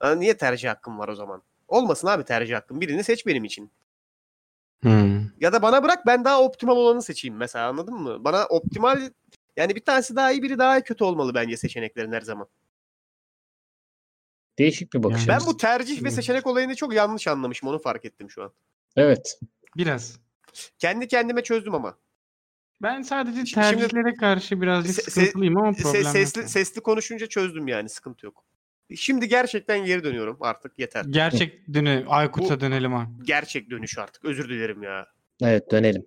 Aa, niye tercih hakkım var o zaman? Olmasın abi tercih hakkım. Birini seç benim için.
Hmm.
Ya da bana bırak ben daha optimal olanı seçeyim mesela anladın mı? Bana optimal yani bir tanesi daha iyi biri daha kötü olmalı bence seçeneklerin her zaman.
Değişik bir bakış
Yani-
Ben
açısı.
bu tercih ve
Evet.
seçenek olayını çok yanlış anlamışım. Onu fark ettim şu an.
Evet.
Biraz.
Kendi kendime çözdüm ama.
Ben sadece
Şimdi- şimdi-
tercihlere karşı birazcık
Se- se-
sıkıntılıyım ama
Se-
problem yok
sesli,
yani.
sesli konuşunca çözdüm yani. Sıkıntı yok. Şimdi gerçekten geri dönüyorum artık yeter.
Gerçek dönü Aykut'a dönelim ha.
Gerçek dönüş artık. Özür dilerim ya.
Evet dönelim.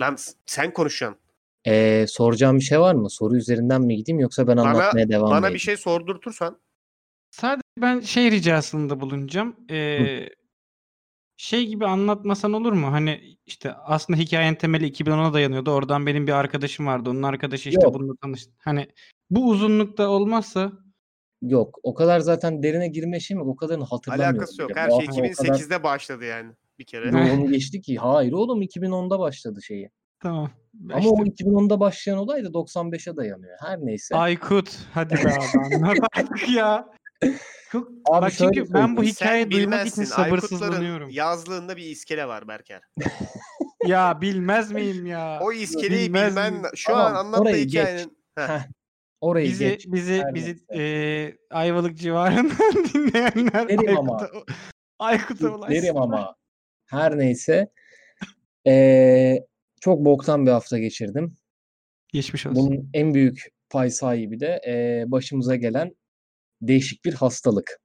Lan s- sen konuşacaksın.
Ee, soracağım bir şey var mı? Soru üzerinden mi gideyim yoksa ben anlatmaya devam
Bana
edeyim?
bir şey sordurtursan
Sadece ben şey ricasında bulunacağım. Ee, şey gibi anlatmasan olur mu? Hani işte aslında hikayenin temeli 2010'a dayanıyordu. Oradan benim bir arkadaşım vardı. Onun arkadaşı işte
Yok.
bununla tanıştı. Hani bu uzunlukta olmazsa
Yok. O kadar zaten derine girme şey mi? O kadarını hatırlamıyorum.
alakası yok.
bile.
Her
Bu
şey
hafta o kadar
2008'de başladı yani. Bir kere.
Yok.
yoğun geçti ki. Hayır oğlum 2010'da başladı şeyi.
tamam. Ya
Ama
işte
o 2010'da başlayan olay da 95'e dayanıyor. Her neyse.
Aykut hadi be abi anlat artık ya. Çok,
Abi
bak
şöyle
çünkü ben bu
söyleyeyim.
hikayeyi
sen
duymak için
bilmezsin.
sabırsızlanıyorum.
Aykutların
Ya,
yazlığında bir iskele var Berker.
bilmez miyim ya?
O iskeleyi
Bilmez
bilmen...
miyim?
Şu
Tamam,
an anlattığı
orayı geç.
hikayenin... Heh.
Heh. Orayı
bizi
geç.
bizi
her
bizi
neyse.
eee, Ayvalık civarından dinleyenler
Derim ama.
Aykut'a Aykut'a ulaşsın.
Derim ama. Her neyse. Ee, çok boktan bir hafta geçirdim.
Geçmiş olsun.
Bunun en büyük pay sahibi de ee, başımıza gelen değişik bir hastalık.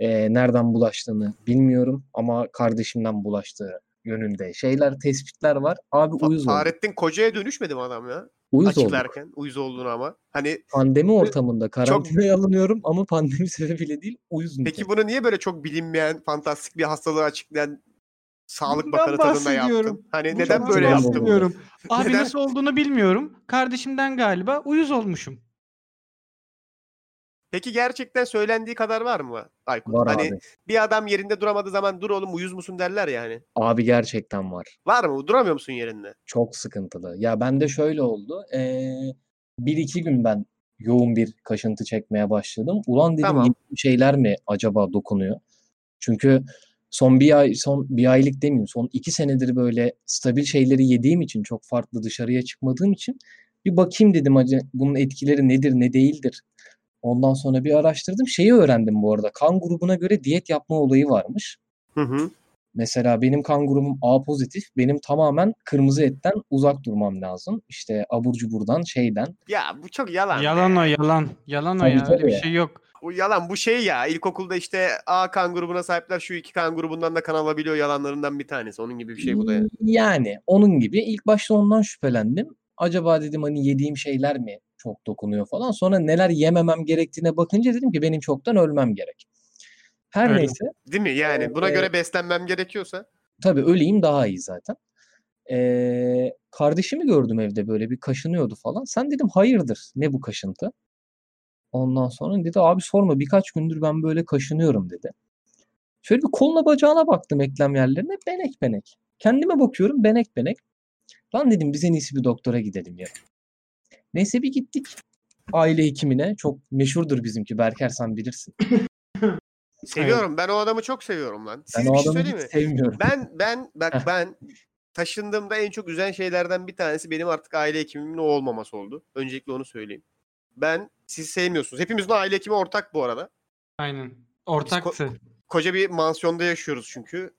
Ee, nereden bulaştığını bilmiyorum ama kardeşimden bulaştığı yönünde şeyler, tespitler var. Abi
Fa-
uyuz olduk.
Fahrettin Koca'ya dönüşmedi mi adam ya?
Uyuz olduk.
Açıklarken uyuz olduğunu ama. Hani
Pandemi ortamında karantinaya alınıyorum ama pandemi sebebiyle değil uyuz
peki
nitelikli.
bunu niye böyle çok bilinmeyen, fantastik bir hastalığı açıklayan Sağlık
Bundan
Bakanı tadında
bahsediyorum.
yaptın? Hani
Bu
neden
çok
böyle
mantıklı
yaptın?
oldu.
bilmiyorum. Abi
Neden?
nasıl olduğunu bilmiyorum. Kardeşimden galiba uyuz olmuşum.
Peki gerçekten söylendiği kadar var mı Aykut?
Var
hani
abi.
bir adam yerinde duramadığı zaman dur oğlum uyuz musun derler ya hani.
Abi gerçekten var.
Var mı? Duramıyor musun yerinde?
Çok sıkıntılı. Ya bende şöyle oldu. Ee, bir iki gün ben yoğun bir kaşıntı çekmeye başladım. Ulan dedim
Tamam.
yeni bir şeyler mi acaba dokunuyor? Çünkü son bir ay son bir aylık demeyeyim son iki senedir böyle stabil şeyleri yediğim için çok farklı dışarıya çıkmadığım için bir bakayım dedim acı bunun etkileri nedir ne değildir. Ondan sonra bir araştırdım. Şeyi öğrendim bu arada. Kan grubuna göre diyet yapma olayı varmış.
Hı hı.
Mesela benim kan grubum A pozitif. Benim tamamen kırmızı etten uzak durmam lazım. İşte abur cuburdan, şeyden.
Ya bu çok yalan.
Yalan
be.
o yalan. Yalan o
Tabii,
ya. Öyle bir
tabii.
şey yok.
Bu yalan bu şey ya. İlkokulda işte A kan grubuna sahipler şu iki kan grubundan da kan alabiliyor yalanlarından bir tanesi. Onun gibi bir şey bu da.
Hmm.
yani.
Yani onun gibi ilk başta ondan şüphelendim. Acaba dedim hani yediğim şeyler mi çok dokunuyor falan. Sonra neler yememem gerektiğine bakınca dedim ki benim çoktan ölmem gerek. Her
Öyle.
neyse
Değil mi? Yani buna
Ee,
göre beslenmem gerekiyorsa.
tabii öleyim daha iyi zaten. Ee, kardeşimi gördüm evde böyle bir kaşınıyordu falan. Sen dedim hayırdır ne bu kaşıntı? Ondan sonra dedi abi sorma birkaç gündür ben böyle kaşınıyorum dedi. Şöyle bir koluna bacağına baktım eklem yerlerine benek benek. Kendime bakıyorum benek benek. Lan dedim biz en iyisi bir doktora gidelim ya. Neyse bir gittik aile hekimine. Çok meşhurdur bizimki Berker sen bilirsin.
Seviyorum. Ben o adamı çok seviyorum lan. Siz
Ben
bir
o
şey
adamı
söyleyeyim
hiç
mi?
sevmiyorum.
Ben ben bak
Heh.
ben taşındığımda en çok üzen şeylerden bir tanesi benim artık aile hekimimin o olmaması oldu. Öncelikle onu söyleyeyim. Ben siz sevmiyorsunuz. Hepimizin aile hekimi ortak bu arada.
Aynen. Ortaktı.
Koca bir mansiyonda yaşıyoruz çünkü.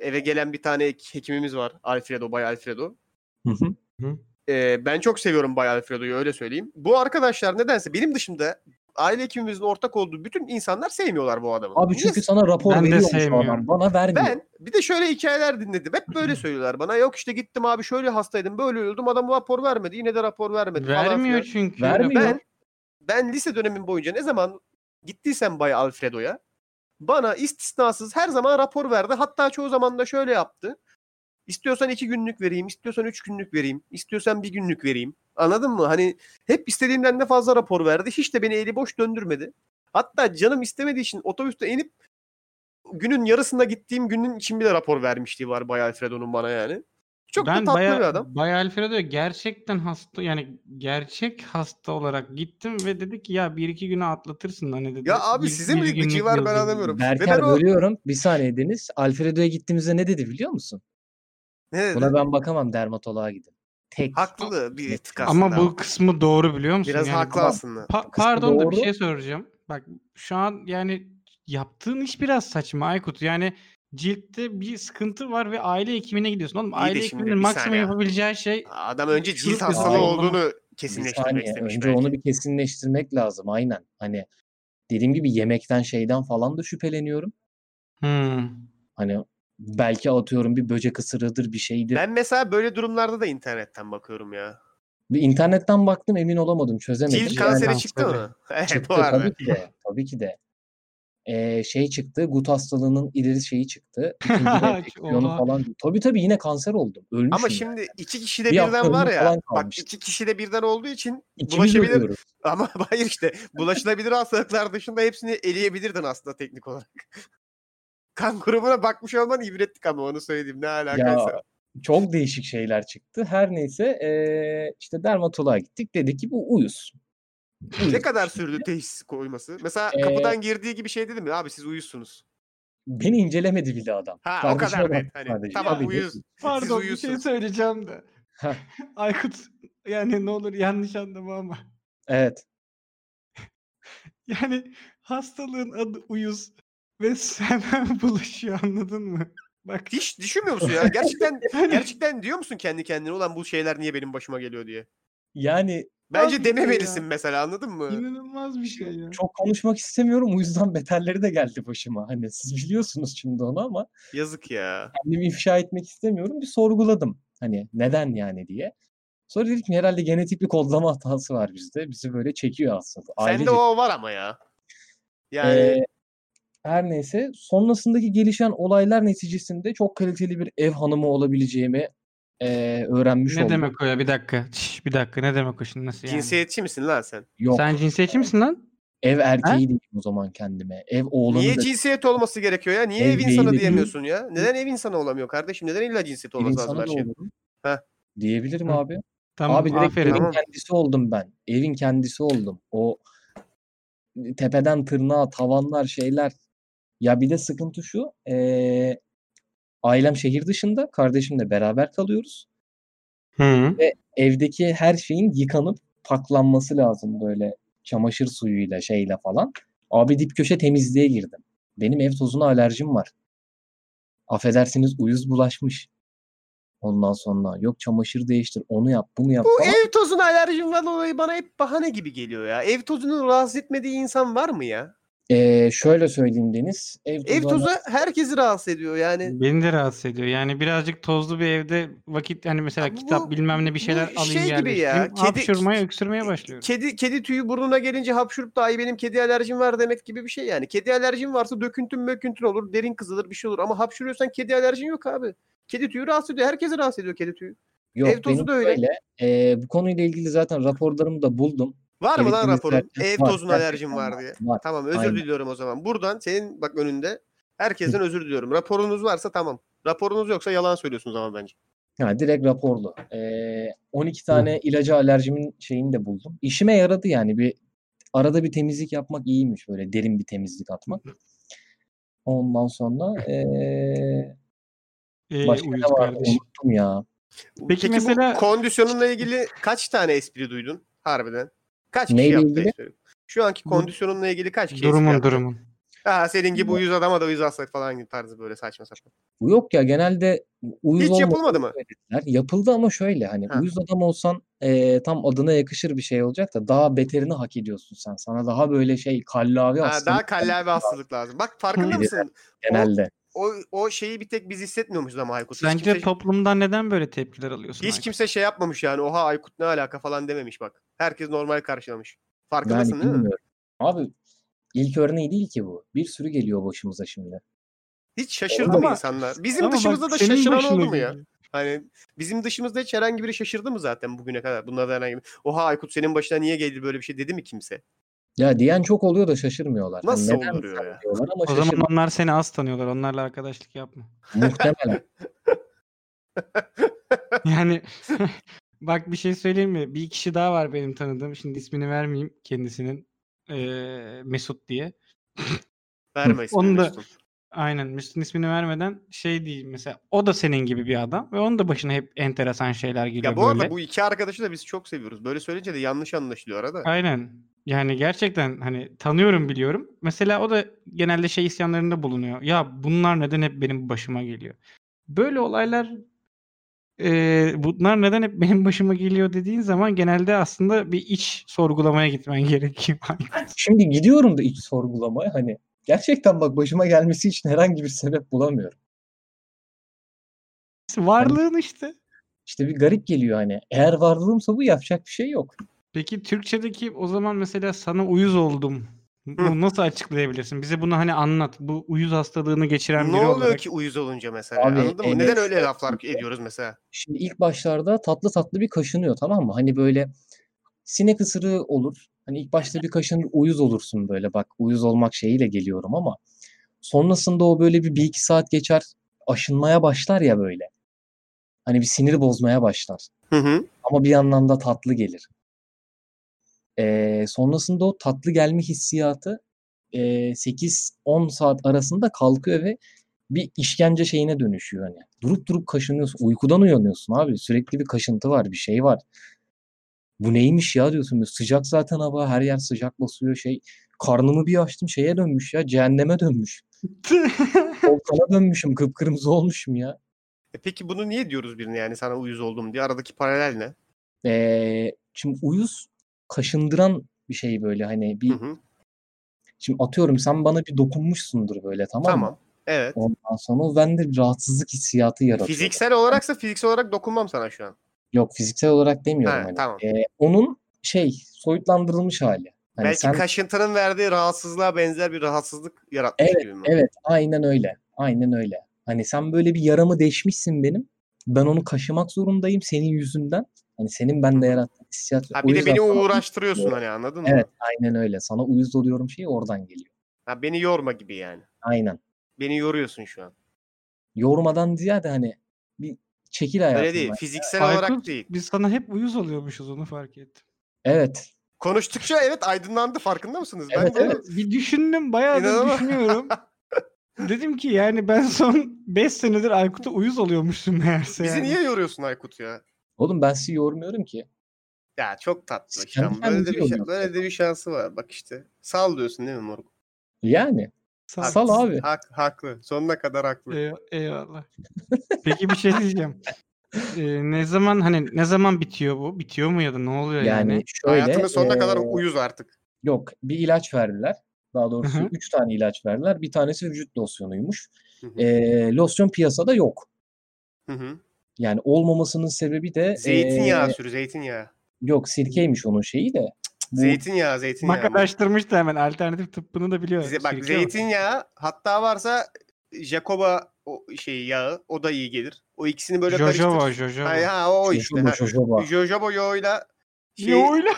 Eve gelen bir tane ek- hekimimiz var. Alfredo, Bay Alfredo.
Hı hı.
Ee, ben çok seviyorum Bay Alfredo'yu öyle söyleyeyim. Bu arkadaşlar nedense benim dışımda aile hekimimizin ortak olduğu bütün insanlar sevmiyorlar bu adamı.
Abi
Niye
çünkü sana rapor
Ben de
veriyormuş o
sevmiyorum.
adam. Bana vermiyor.
Ben bir de şöyle hikayeler dinledim. Hep böyle söylüyorlar bana. Yok işte gittim abi şöyle hastaydım böyle öldüm adam rapor vermedi. Yine de rapor vermedi falan
Vermiyor
filan.
çünkü.
Vermiyor.
Ben, ben lise dönemim boyunca ne zaman gittiysem Bay Alfredo'ya bana istisnasız her zaman rapor verdi. Hatta çoğu zaman da şöyle yaptı. İstiyorsan iki günlük vereyim, istiyorsan üç günlük vereyim, istiyorsan bir günlük vereyim. Anladın mı? Hani hep istediğimden de fazla rapor verdi. Hiç de beni eli boş döndürmedi. Hatta canım istemediği için otobüste inip günün yarısında gittiğim günün için bile rapor vermişliği var Bay Alfredo'nun bana yani. Çok da
ben
tatlı
bayağı,
bir adam.
Bayağı Alfredo gerçekten hasta yani gerçek hasta olarak gittim ve dedi ki ya bir iki güne atlatırsın hani dedi.
Ya abi
Bir-
size
bir
mi gıcığı
günlük
var ben
yazayım."
anlamıyorum. Ve
Berker
ben o-
bölüyorum. Bir saniye Deniz. Alfredo'ya gittiğimizde ne dedi biliyor musun?
Ne dedi?
Buna ben bakamam dermatoloğa gidin. Tek.
Haklı bir tık aslında.
Ama bu kısmı doğru biliyor musun?
biraz
Yani
haklı
bu-
aslında.
Pa-
Kısmı
pardon da bir
doğru.
şey soracağım. Bak şu an yani yaptığın iş biraz saçma Aykut. Yani ciltte bir sıkıntı var ve aile hekimine gidiyorsun. Oğlum
de
aile
şimdi
hekiminin
bir
maksimum
saniye.
yapabileceği şey
Adam önce cilt
Şurup
hastalığı
yasağı
olduğunu
olmama-
Bir
kesinleştirmek
saniye.
istemiş
Önce
belki.
onu bir kesinleştirmek lazım. Aynen. Hani dediğim gibi yemekten şeyden falan da şüpheleniyorum.
Hmm.
Hani belki atıyorum bir böcek ısırığıdır bir şeydir.
Ben mesela böyle durumlarda da internetten bakıyorum ya.
Bir internetten baktım emin olamadım çözemedim.
Cilt
Yani-
kanseri
kanseri.
çıktı mı? Evet bu
Çıktı
arada.
tabii ki de. Tabii ki de. Ee, şey çıktı. Gut hastalığının ileri şeyi çıktı. İkinci de enfeksiyonu
Oha.
falan. Tabii tabii yine kanser oldum. Ölmüşüm.
Ama
ya.
şimdi iki kişide
Bir hafta
birden var
ömrü
ya.
falan
Bak
kalmıştı.
iki kişide birden olduğu için
İkimiz
bulaşabilir.
ölüyoruz.
Ama hayır işte bulaşılabilir hastalıklar dışında hepsini eleyebilirdin aslında teknik olarak. Kan grubuna bakmış olman ibretlik ama onu söyleyeyim ne alakaysa.
Ya çok değişik şeyler çıktı. Her neyse eee, işte dermatoloğa gittik. Dedi ki bu uyuz.
ne
Uyuz.
kadar sürdü teşhis koyması? Mesela
Ee,
kapıdan girdiği gibi şey dedi mi? Abi siz uyuzsunuz.
Beni incelemedi bile adam.
Ha o
Kardeşime
kadar net.
baktı
Hani,
sadece.
tamam
Abi dedi
uyuz.
ki,
Pardon bir şey
uyuyorsunuz.
söyleyeceğim de.
Heh.
Aykut yani ne olur yanlış anlama ama.
Evet.
Yani hastalığın adı uyuz ve sen bulaşıyor anladın mı? Bak
Hiç düşünmüyor musun ya? Gerçekten
yani
gerçekten diyor musun kendi kendine ulan bu şeyler niye benim başıma geliyor diye?
Yani
Bence
bir şey
dememelisin
ya.
mesela anladın mı?
inanılmaz bir şey ya.
çok konuşmak istemiyorum. O yüzden beterleri de geldi başıma. Hani siz biliyorsunuz şimdi onu ama
Yazık ya.
kendimi ifşa etmek istemiyorum. Bir sorguladım. Hani neden yani diye. Sonra dedik ki herhalde genetik bir kodlama hatası var bizde. Bizi böyle çekiyor aslında.
Sende
Ailece
o var ama ya. Yani
Ee, her neyse sonrasındaki gelişen olaylar neticesinde çok kaliteli bir ev hanımı olabileceğimi eee, öğrenmiş
Ne
oldum.
demek o ya bir dakika. Şş, bir dakika ne demek o şimdi nasıl yani?
cinsiyetçi misin lan sen?
Yok
Sen cinsiyetçi misin lan?
ev erkeği değilim o zaman kendime. Ev oğlanı
Niye
da
cinsiyet olması gerekiyor ya? Niye
Ev
ev insanı
değilim.
diyemiyorsun ya? Neden ev insanı olamıyor kardeşim? Neden illa cinsiyet
bir
olması lazım
insanı
her şey?
da
şeyin?
olurum.
Heh.
Diyebilirim
Hı.
abi.
Tamam
abi direkt
aferin.
evin
Tamam.
kendisi oldum ben. Evin kendisi oldum. O tepeden tırnağa tavanlar şeyler Ya bir de sıkıntı şu. eee, ailem şehir dışında. Kardeşimle beraber kalıyoruz.
Hı.
Evdeki her şeyin yıkanıp paklanması lazım böyle çamaşır suyuyla şeyle falan. Abi dip köşe temizliğe girdim. Benim ev tozuna alerjim var. Affedersiniz uyuz bulaşmış. Ondan sonra yok çamaşır değiştir onu yap bunu yap
Bu
falan.
ev tozuna alerjimden dolayı bana hep bahane gibi geliyor ya. Ev tozunu rahatsız etmediği insan var mı ya?
Eee, Ee, şöyle söyleyeyim Deniz. Ev
Ev
tozu
tozu herkesi rahatsız ediyor yani.
Beni de rahatsız ediyor. Yani birazcık tozlu bir evde vakit hani mesela
Ya bu-
kitap bilmem ne bir
bu
şeyler
şey
alayım
gibi ya,
yerleştireyim.
kedi-
Hapşurmaya öksürmeye başlıyorum.
Ee, Kedi kedi tüyü burnuna gelince hapşurup da ay benim kedi alerjim var demek gibi bir şey yani. Kedi alerjim varsa döküntün möküntün olur, derin kızılır bir şey olur ama hapşuruyorsan kedi alerjin yok abi. Kedi tüyü rahatsız ediyor. Herkesi rahatsız ediyor kedi tüyü.
Yok
Ev tozu
benim
da öyle.
şöyle, eee, bu konuyla ilgili zaten raporlarımı da buldum.
Var mı lan
Gerekli
raporun?
literatür
Ev
var,
tozuna alerjim
gerçekten
var diye.
Var.
Tamam özür
Aynen.
diliyorum o zaman. Buradan senin bak önünde herkesten özür diliyorum. Raporunuz varsa tamam. Raporunuz yoksa yalan söylüyorsunuz ama bence.
Yani direkt raporlu. Eee, 12 tane ilaca alerjimin şeyini de buldum. İşime yaradı yani bir arada bir temizlik yapmak iyiymiş böyle derin bir temizlik atmak. Ondan sonra eee
Şey,
Ee,
başka
uyuz
ne vardı
kardeşim.
unuttum ya.
Peki mesela-
bu kondisyonunla ilgili kaç tane espri duydun harbiden? Kaç kişi
Neyle
yaptı
ilgili?
espri? Şu anki
Bu-
kondisyonunla ilgili kaç kişi espri
Durumun
yaptı?
durumun.
Ha, senin gibi uyuz adama da uyuz assak falan gibi tarzı böyle saçma sapan.
Bu yok ya genelde uyuz
Hiç
olmadığını
yapılmadı mı?
söylediler. Yapıldı ama şöyle hani
Ha.
uyuz adam olsan eee, tam adına yakışır bir şey olacak da daha beterini hak ediyorsun sen. Sana daha böyle şey kallavi
Ha,
hastalık
daha kallavi hastalık lazım. Bak farkında
Hı.
mısın?
genelde.
O, o şeyi bir tek biz hissetmiyormuşuz ama Aykut. Hiç
Sence
kimse-
toplumdan neden böyle tepkiler alıyorsun?
Hiç
Aykut?
kimse şey yapmamış yani. Oha Aykut ne alaka falan dememiş bak. Herkes normal karşılamış.
Yani
Farkındasın değil mi?
bilmiyorum. Abi ilk örneği değil ki bu. Bir sürü geliyor başımıza şimdi.
Hiç şaşırdı
Ama-
mı insanlar? Bizim
Ama bak,
dışımızda da
senin
şaşıran
başına
oldu mu ya?
geliyor.
Hani bizim dışımızda hiç herhangi biri şaşırdı mı zaten bugüne kadar? Bunlardan herhangi bir... Oha Aykut senin başına niye geldi böyle bir şey dedi mi kimse?
Ya diyen çok oluyor da şaşırmıyorlar. Hani
Nasıl
neden
oluyor
sen
ya?
diyorlar ama
O zaman
şaşırmıyor.
onlar seni az tanıyorlar. Onlarla arkadaşlık yapma.
Muhtemelen.
Yani bak bir şey söyleyeyim mi? Bir kişi daha var benim tanıdığım. Şimdi ismini vermeyeyim kendisinin. Ee, Mesut diye.
Verme ismini
Onu da-
Mesut'un.
Aynen Mesut'un ismini vermeden şey değil mesela o da senin gibi bir adam ve onun da başına hep enteresan şeyler geliyor
Ya bu arada
böyle.
bu iki arkadaşı da biz çok seviyoruz. Böyle söyleyince de yanlış anlaşılıyor arada.
Aynen. Yani gerçekten hani tanıyorum biliyorum. Mesela o da genelde şey isyanlarında bulunuyor. Ya bunlar neden hep benim başıma geliyor? Böyle olaylar eee, bunlar neden hep benim başıma geliyor dediğin zaman genelde aslında bir iç sorgulamaya gitmen gerekiyor.
Şimdi gidiyorum da iç sorgulamaya hani gerçekten bak başıma gelmesi için herhangi bir sebep bulamıyorum.
Varlığın işte.
İşte bir garip geliyor hani. Eğer varlığımsa bu yapacak bir şey yok.
Peki Türkçedeki o zaman mesela sana uyuz oldum. Bu nasıl açıklayabilirsin? Bize bunu hani anlat. Bu uyuz hastalığını geçiren
Ne
biri
oluyor
olarak.
ki uyuz olunca mesela?
Abi, e,
Anladın mı? Neden
Enes-
öyle laflar ediyoruz mesela?
Şimdi ilk başlarda tatlı tatlı bir kaşınıyor tamam mı? Hani böyle sinek ısırığı olur. Hani ilk başta bir kaşınır uyuz olursun böyle bak uyuz olmak şeyiyle geliyorum ama sonrasında o böyle bir, bir iki saat geçer aşınmaya başlar ya böyle. Hani bir sinir bozmaya başlar.
Hı hı.
Ama bir yandan da tatlı gelir. Ee, sonrasında o tatlı gelme hissiyatı ee, 8-10 saat arasında kalkıyor ve bir işkence şeyine dönüşüyor hani. Durup durup kaşınıyorsun. Uykudan uyanıyorsun abi. Sürekli bir kaşıntı var, bir şey var. Bu neymiş ya diyorsun. Böyle Sıcak zaten hava, her yer sıcak basıyor şey. Karnımı bir açtım şeye dönmüş ya. Cehenneme dönmüş. Volkana dönmüşüm, kıpkırmızı olmuşum ya.
E peki bunu niye diyoruz birine yani sana uyuz oldum diye? Aradaki paralel ne?
Ee, şimdi uyuz kaşındıran bir şey böyle hani bir
Hı hı.
şimdi atıyorum sen bana bir dokunmuşsundur böyle tamam, mı?
Tamam. Evet.
Ondan sonra o bende bir rahatsızlık hissiyatı yaratıyor.
Fiziksel olaraksa fiziksel olarak dokunmam sana şu an.
Yok fiziksel olarak demiyorum
Ha,
hani.
tamam.
Ee, onun şey soyutlandırılmış hali. Hani
Belki
sen
kaşıntının verdiği rahatsızlığa benzer bir rahatsızlık yaratmış gibi mi?
evet aynen öyle. Aynen öyle. Hani sen böyle bir yaramı deşmişsin benim. Ben onu kaşımak zorundayım senin yüzünden. Hani senin bende
hı.
yarattığın hissiyat.
Ha,
O
bir de
yüzden
beni
sana uyuz
uğraştırıyorsun
oluyorum.
hani anladın mı?
Evet aynen öyle. Sana uyuz oluyorum şeyi oradan geliyor.
Ha, beni yorma gibi yani.
Aynen.
Beni yoruyorsun şu an.
Yormadan ziyade hani bir çekil hayatımdan.
Öyle değil. Fiziksel olarak
Aykut,
değil.
biz sana hep uyuz oluyormuşuz onu fark ettim.
Evet.
Konuştukça evet aydınlandı farkında mısınız?
Evet,
ben bunu
evet.
Bir düşündüm bayağı da
İnanamam.
düşünüyorum. Dedim ki yani ben son 5 senedir Aykut'a uyuz oluyormuşum meğerse
Bizi
yani.
niye yoruyorsun Aykut ya?
Oğlum ben sizi yormuyorum ki.
Ya çok tatlı.
Kendi
Işte. ama Böyle, de
kendimizi
bir, şa-
yoruyoruz
böyle de bir şansı var bak işte. Sal diyorsun değil mi moruk?
Yani
Sağ ol.
Haklısın.
Sal abi. Ee,
Hak- haklı. Sonuna kadar haklı.
Eyv- Eyvallah. Peki bir şey diyeceğim. Ee, ne zaman hani ne zaman bitiyor bu? Bitiyor mu ya da ne oluyor yani?
yani şöyle. ee,
Hayatının sonuna kadar
eee,
uyuz artık.
Yok bir ilaç verdiler. Daha doğrusu
hı.
3 tane ilaç verdiler. Bir tanesi vücut losyonuymuş.
Hı hı.
Eee, losyon piyasada yok.
Hı hı.
Yani olmamasının sebebi de
Zeytinyağı
eee,
sürü zeytinyağı.
yok sirkeymiş onun şeyi de. Bu-
Zeytinyağı zeytinyağı.
Bak araştırmış da hemen alternatif tıbbını da biliyor.
Ze- bak
Şirki ama.
zeytinyağı hatta varsa Jacoba o şey yağı o da iyi gelir. O ikisini böyle
Jojoba,
karıştır.
Jojoba.
Ay, ha, o işte.
Jojoba,
Ha.
Şey, jojoba.
Jojoba yağıyla şey,
Yoğuyla.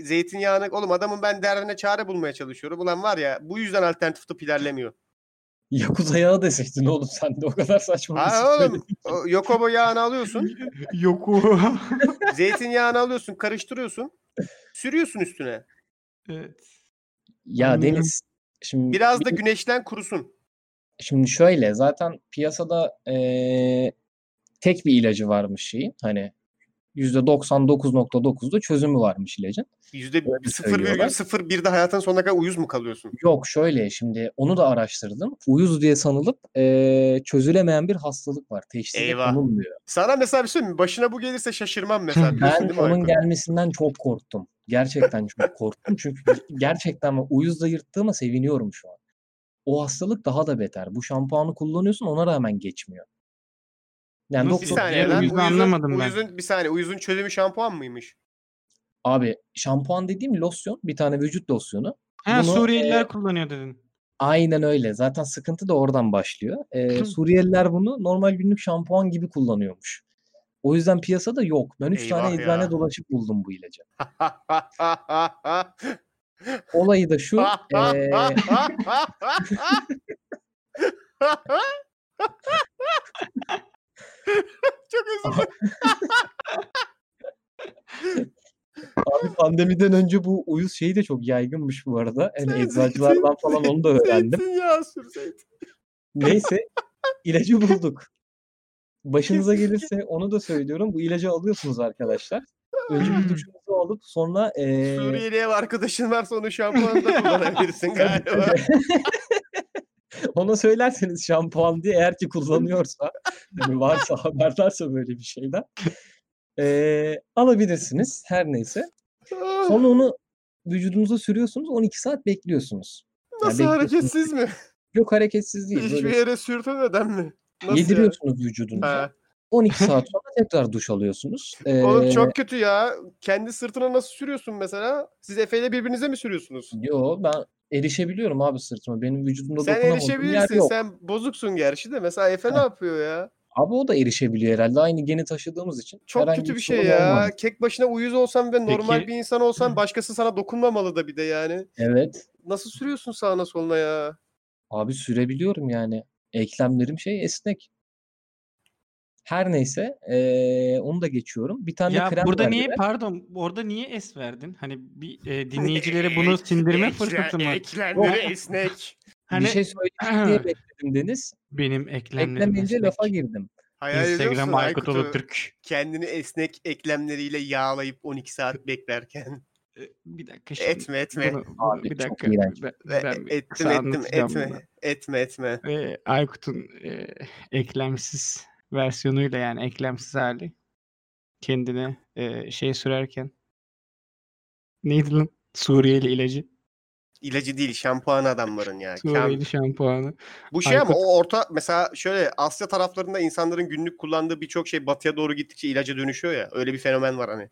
zeytinyağını oğlum adamın ben derdine çare bulmaya çalışıyorum. Ulan var ya bu yüzden alternatif tıp ilerlemiyor.
Yakuza yağı deseydin oğlum sen de o kadar saçma bir şey
Ha oğlum
söyledin.
o Yokobo yağını alıyorsun.
Yoku.
zeytinyağını alıyorsun karıştırıyorsun. Sürüyorsun üstüne.
evet.
Ya
anladım.
Deniz şimdi
Biraz da
bir-
güneşten kurusun.
Şimdi şöyle zaten piyasada eee, tek bir ilacı varmış şeyin. Hani %99.9'da çözümü varmış ilacın.
Yüzde
Öyle söylüyorlar.
%0,01'de hayatın sonuna kadar uyuz mu kalıyorsun?
Yok şöyle şimdi onu da araştırdım. Uyuz diye sanılıp eee, çözülemeyen bir hastalık var. Teşhise
Eyvah.
konulmuyor.
Sana mesela bir şey söyleyeyim mi? Başına bu gelirse şaşırmam mesela. biliyorsun
Ben
değil mi
onun
Aykut?
gelmesinden çok korktum. Gerçekten çok korktum. Çünkü gerçekten ben uyuzla yırttığıma seviniyorum şu an. O hastalık daha da beter. Bu şampuanı kullanıyorsun ona rağmen geçmiyor. Yani
Nasıl
Bir
Çok
doktor
saniye
iyi
lan.
bir yüzünü
Uyuzun-
anlamadım ben.
uyuzun- bir saniye. Uyuzun çözümü şampuan mıymış?
Abi şampuan dediğim losyon bir tane vücut losyonu.
Ha,
Bunu,
Suriyeliler kullanıyor dedin.
Aynen öyle. Zaten sıkıntı da oradan başlıyor. Ee, Suriyeliler bunu normal günlük şampuan gibi kullanıyormuş. O yüzden piyasada yok. Ben 3 tane
Eyvah
eczane
ya.
dolaşıp buldum bu ilacı. Olayı da şu. ee,
Çok özür dilerim.
abi pandemiden önce bu uyuz şeyi de çok yaygınmış bu arada.
Zeytin,
Yani eczacılardan falan onu da öğrendim.
Zeytinyağı sür zeytin.
Neyse ilacı bulduk. Başınıza gelirse onu da söylüyorum. Bu ilacı alıyorsunuz arkadaşlar. Önce bir duşunuzu alıp sonra ee,
Suriyeli ev arkadaşın varsa onu şampuanı da kullanabilirsin galiba.
Ona söylerseniz şampuan diye eğer ki kullanıyorsa hani varsa haberdarsa böyle bir şeyden eee, alabilirsiniz her neyse.
Ah,
Sonra onu vücudunuza sürüyorsunuz 12 saat bekliyorsunuz. Ya
Nasıl
bekliyorsunuz.
hareketsiz mi?
Yok hareketsiz değil.
Hiçbir
Böyle
yere sürtmeden mi? Nasıl
yediriyorsunuz
yani?
vücudunuza.
Ha.
12 saat sonra tekrar duş alıyorsunuz.
Oğlum
Eee,
çok kötü ya. Kendi sırtına nasıl sürüyorsun mesela? Siz Efe ile birbirinize mi sürüyorsunuz?
Yo ben erişebiliyorum abi sırtıma. Benim vücudumda
Sen
dokunamadığım yer
erişebilirsin.
yok.
Sen bozuksun gerçi de. Mesela Efe ne
Heh.
yapıyor ya?
Abi o da erişebiliyor herhalde. Aynı geni taşıdığımız için.
Çok
herhangi
kötü bir şey
sorun
ya.
olmadı.
Kek başına uyuz olsan ve normal
Peki-
bir insan olsan başkası sana dokunmamalı da bir de yani.
Evet.
Nasıl sürüyorsun sağına soluna ya?
Abi sürebiliyorum yani. Eklemlerim şey esnek. Her neyse eee, onu da geçiyorum. Bir tane de
Ya
krem
burada niye
verdiler.
pardon orada niye es verdin? Hani bir e, dinleyicilere bunu sindirme fırsatı mı?
Eklemleri esnek.
Hani
Bir şey söyleyeyim diye bekledim Deniz.
benim eklemlerim
Beklemeyince lafa
esnek.
girdim.
Hayal
Instagram
ediyorsun
Aykut
Aykut'u
Ulutürk.
kendini esnek eklemleriyle yağlayıp 12 saat beklerken.
E, Bir dakika şimdi.
Etme etme.
Bunu- bunu
Abi
bir
çok
dakika.
iğrenç.
Ben,
Ve
ben bir
ettim
kısa
ettim
anlatacağım bunu.
etme. Etme etme.
E, Aykut'un e, eklemsiz versiyonuyla yani eklemsiz hali kendine e, şey sürerken neydi lan? Suriyeli ilacı.
İlacı değil şampuan adamların ya. Kam-
Suriyeli şampuanı.
Bu şey ama
Aykut-
o orta mesela şöyle Asya taraflarında insanların günlük kullandığı birçok şey batıya doğru gittikçe ilaca dönüşüyor ya. Öyle bir fenomen var hani.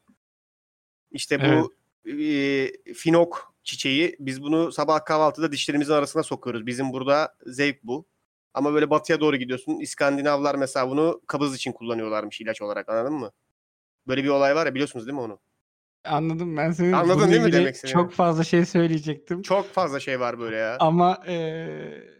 İşte bu e, finok çiçeği biz bunu sabah kahvaltıda dişlerimizin arasına sokuyoruz. Bizim burada zevk bu. Ama böyle batıya doğru gidiyorsun. İskandinavlar mesela bunu kabız için kullanıyorlarmış ilaç olarak anladın mı? Böyle bir olay var ya biliyorsunuz değil mi onu?
Anladım ben senin
Anladın
bununla
değil mi
ilgili
demek istediğimi?
Çok fazla şey söyleyecektim.
Çok fazla şey var böyle ya.
Ama eee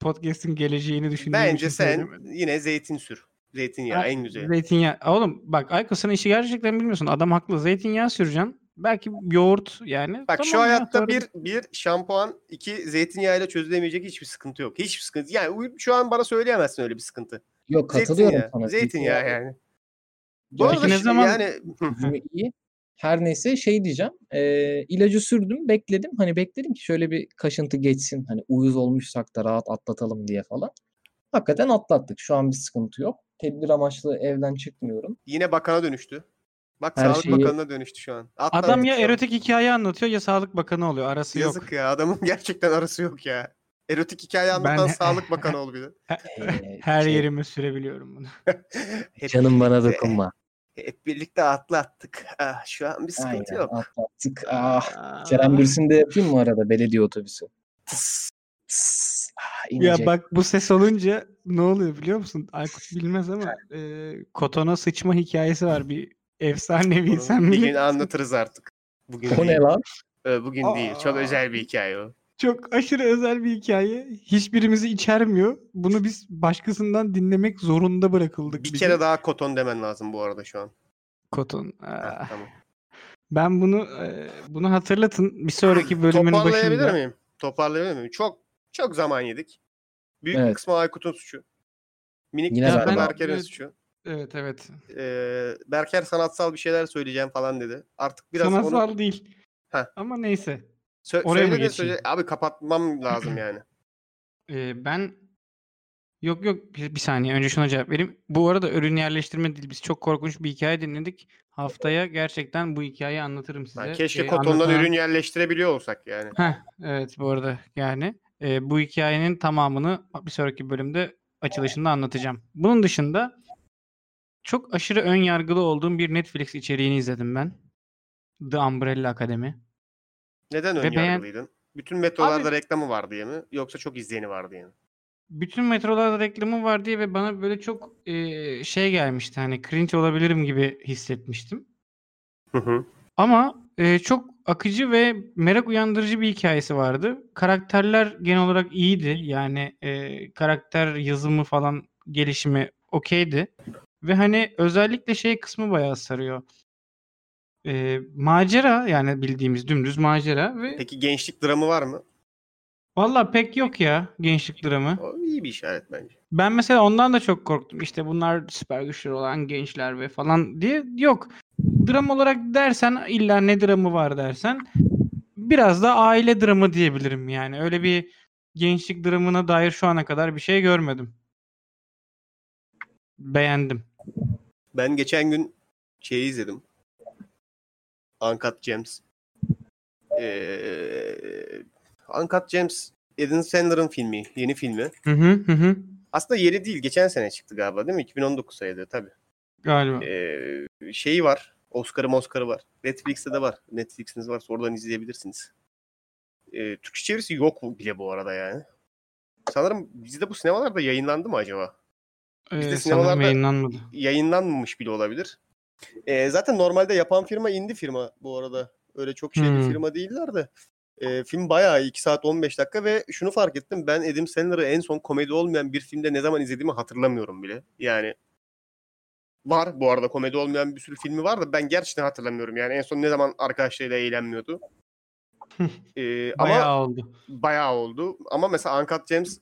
podcast'in geleceğini düşündüğüm için
Bence sen
söylemedim.
yine zeytin sür. Zeytinyağı
Ha,
en güzeli.
Zeytinyağı. Oğlum bak Aykut sen işi gerçekten bilmiyorsun. Adam haklı. Zeytinyağı süreceksin. Belki yoğurt yani.
Bak şu
Tamam ya,
hayatta
sorun-
bir bir şampuan, iki zeytinyağıyla çözülemeyecek hiçbir sıkıntı yok. Hiçbir sıkıntı. Yani uy- şu an bana söyleyemezsin öyle bir sıkıntı.
Yok katılıyorum
Zeytinyağı,
sana.
zeytinyağı yani. Bu
Peki
arada
ne
şimdi
zaman-
yani
Cümle iyi. Her neyse şey diyeceğim. eee, ilacı sürdüm, bekledim. Hani bekledim ki şöyle bir kaşıntı geçsin. Hani uyuz olmuşsak da rahat atlatalım diye falan. Hakikaten atlattık. Şu an bir sıkıntı yok. Tedbir amaçlı evden çıkmıyorum.
yine bakana dönüştü. Bak
Her
Sağlık
şeyi-
Bakanı'na dönüştü şu an. Atlantik
Adam ya
şu an.
erotik hikaye anlatıyor ya Sağlık Bakanı oluyor. Arası yok.
Yazık ya adamın gerçekten arası yok ya. Erotik hikaye anlatan
Ben-
Sağlık Bakanı ol bir de.
Eee,
Her
şey,
yerimi sürebiliyorum bunu.
Hep,
Canım bana
birlikte-
dokunma.
Hep birlikte atlattık. Ah, şu an bir sıkıntı
Aynen,
yok.
atlattık. Ah,
Aa.
Kerem Bürsin de yapayım mı arada belediye otobüsü? Tıs, tıs, ah, inecek.
Ya bak bu ses olunca ne oluyor biliyor musun? Aykut bilmez ama e, kotona sıçma hikayesi var bir efsanevi
Bunu
sen
bir gün
bilir.
anlatırız artık. Bugün
O ne
değil.
lan?
Ö, Bugün değil. Çok
Aa.
özel bir hikaye o.
Çok aşırı özel bir hikaye. Hiçbirimizi içermiyor. Bunu biz başkasından dinlemek zorunda bırakıldık.
Bir
gün.
kere daha koton demen lazım bu arada şu an.
koton. Aa,
Ha, tamam.
Ben bunu e, bunu hatırlatın bir sonraki bölümün
Toparlayabilir
başında.
miyim? Toparlayabilir miyim? Çok çok zaman yedik. Büyük bir
Evet.
kısmı Aykut'un suçu. Minik
Yine
kısmı
ben-
Berker'in
Evet.
suçu.
Evet evet.
Ee, Berker sanatsal bir şeyler söyleyeceğim falan dedi. Artık biraz onu
Sanatsal değil.
Heh.
Ama neyse.
Sö-
Oraya mı
söyle de
geçeyim?
söyle. Abi kapatmam lazım yani.
Ee, ben yok yok bir, bir saniye önce şuna cevap vereyim. Bu arada ürün yerleştirme değil. Biz çok korkunç bir hikaye dinledik. Haftaya gerçekten bu hikayeyi anlatırım size.
Ha, keşke
Ee,
kotondan
anlatan-
ürün yerleştirebiliyor olsak yani.
Heh, evet bu arada yani e, bu hikayenin tamamını bir sonraki bölümde açılışında anlatacağım. Bunun dışında çok aşırı ön yargılı olduğum bir Netflix içeriğini izledim ben. The Umbrella Academy.
Neden
Ve beğen-
önyargılıydın? Bütün metrolarda
Abi-
reklamı var diye mi? Yoksa çok izleyeni var diye mi?
bütün metrolarda reklamı var diye ve bana böyle çok e, şey gelmişti hani cringe olabilirim gibi hissetmiştim.
Hı hı.
Ama e, çok akıcı ve merak uyandırıcı bir hikayesi vardı. Karakterler genel olarak iyiydi. Yani e, karakter yazımı falan gelişimi okeydi. Ve hani özellikle şey kısmı bayağı sarıyor. E, macera yani bildiğimiz dümdüz macera ve
Peki gençlik dramı var mı?
valla pek yok ya gençlik dramı.
O iyi bir işaret bence.
Ben mesela ondan da çok korktum. İşte bunlar süper güçleri olan gençler ve falan diye yok. Dram olarak dersen illa ne dramı var dersen biraz da aile dramı diyebilirim yani. Öyle bir gençlik dramına dair şu ana kadar bir şey görmedim. Beğendim.
Ben geçen gün şeyi izledim. Uncut Gems. Ee, Uncut Gems Eden Sandler'ın filmi. Yeni filmi.
Hı hı hı hı.
Aslında yeni değil. Geçen sene çıktı galiba değil mi? 2019 sayıdı tabii.
Galiba.
Ee, şeyi var. Oscar'ı Oscar'ı var. Netflix'te de var. Netflix'iniz varsa oradan izleyebilirsiniz. Ee, Türkçe çevirisi yok bu- bile bu arada yani. Sanırım bizde bu sinemalarda yayınlandı mı acaba?
Ee,
de
sanırım
sinemalarda-
yayınlanmadı.
Yayınlanmamış bile olabilir. Ee, zaten normalde yapan firma indi firma bu arada. Öyle çok şey bir
Hmm.
firma değiller de. Ee, film bayağı iyi. 2 saat 15 dakika ve şunu fark ettim. Ben Adam Sandler'ı en son komedi olmayan bir filmde ne zaman izlediğimi hatırlamıyorum bile. Yani var bu arada komedi olmayan bir sürü filmi var da ben gerçekten hatırlamıyorum. Yani en son ne zaman arkadaşlarıyla eğlenmiyordu. Ee, ama
Bayağı oldu.
bayağı oldu. Ama mesela Uncut James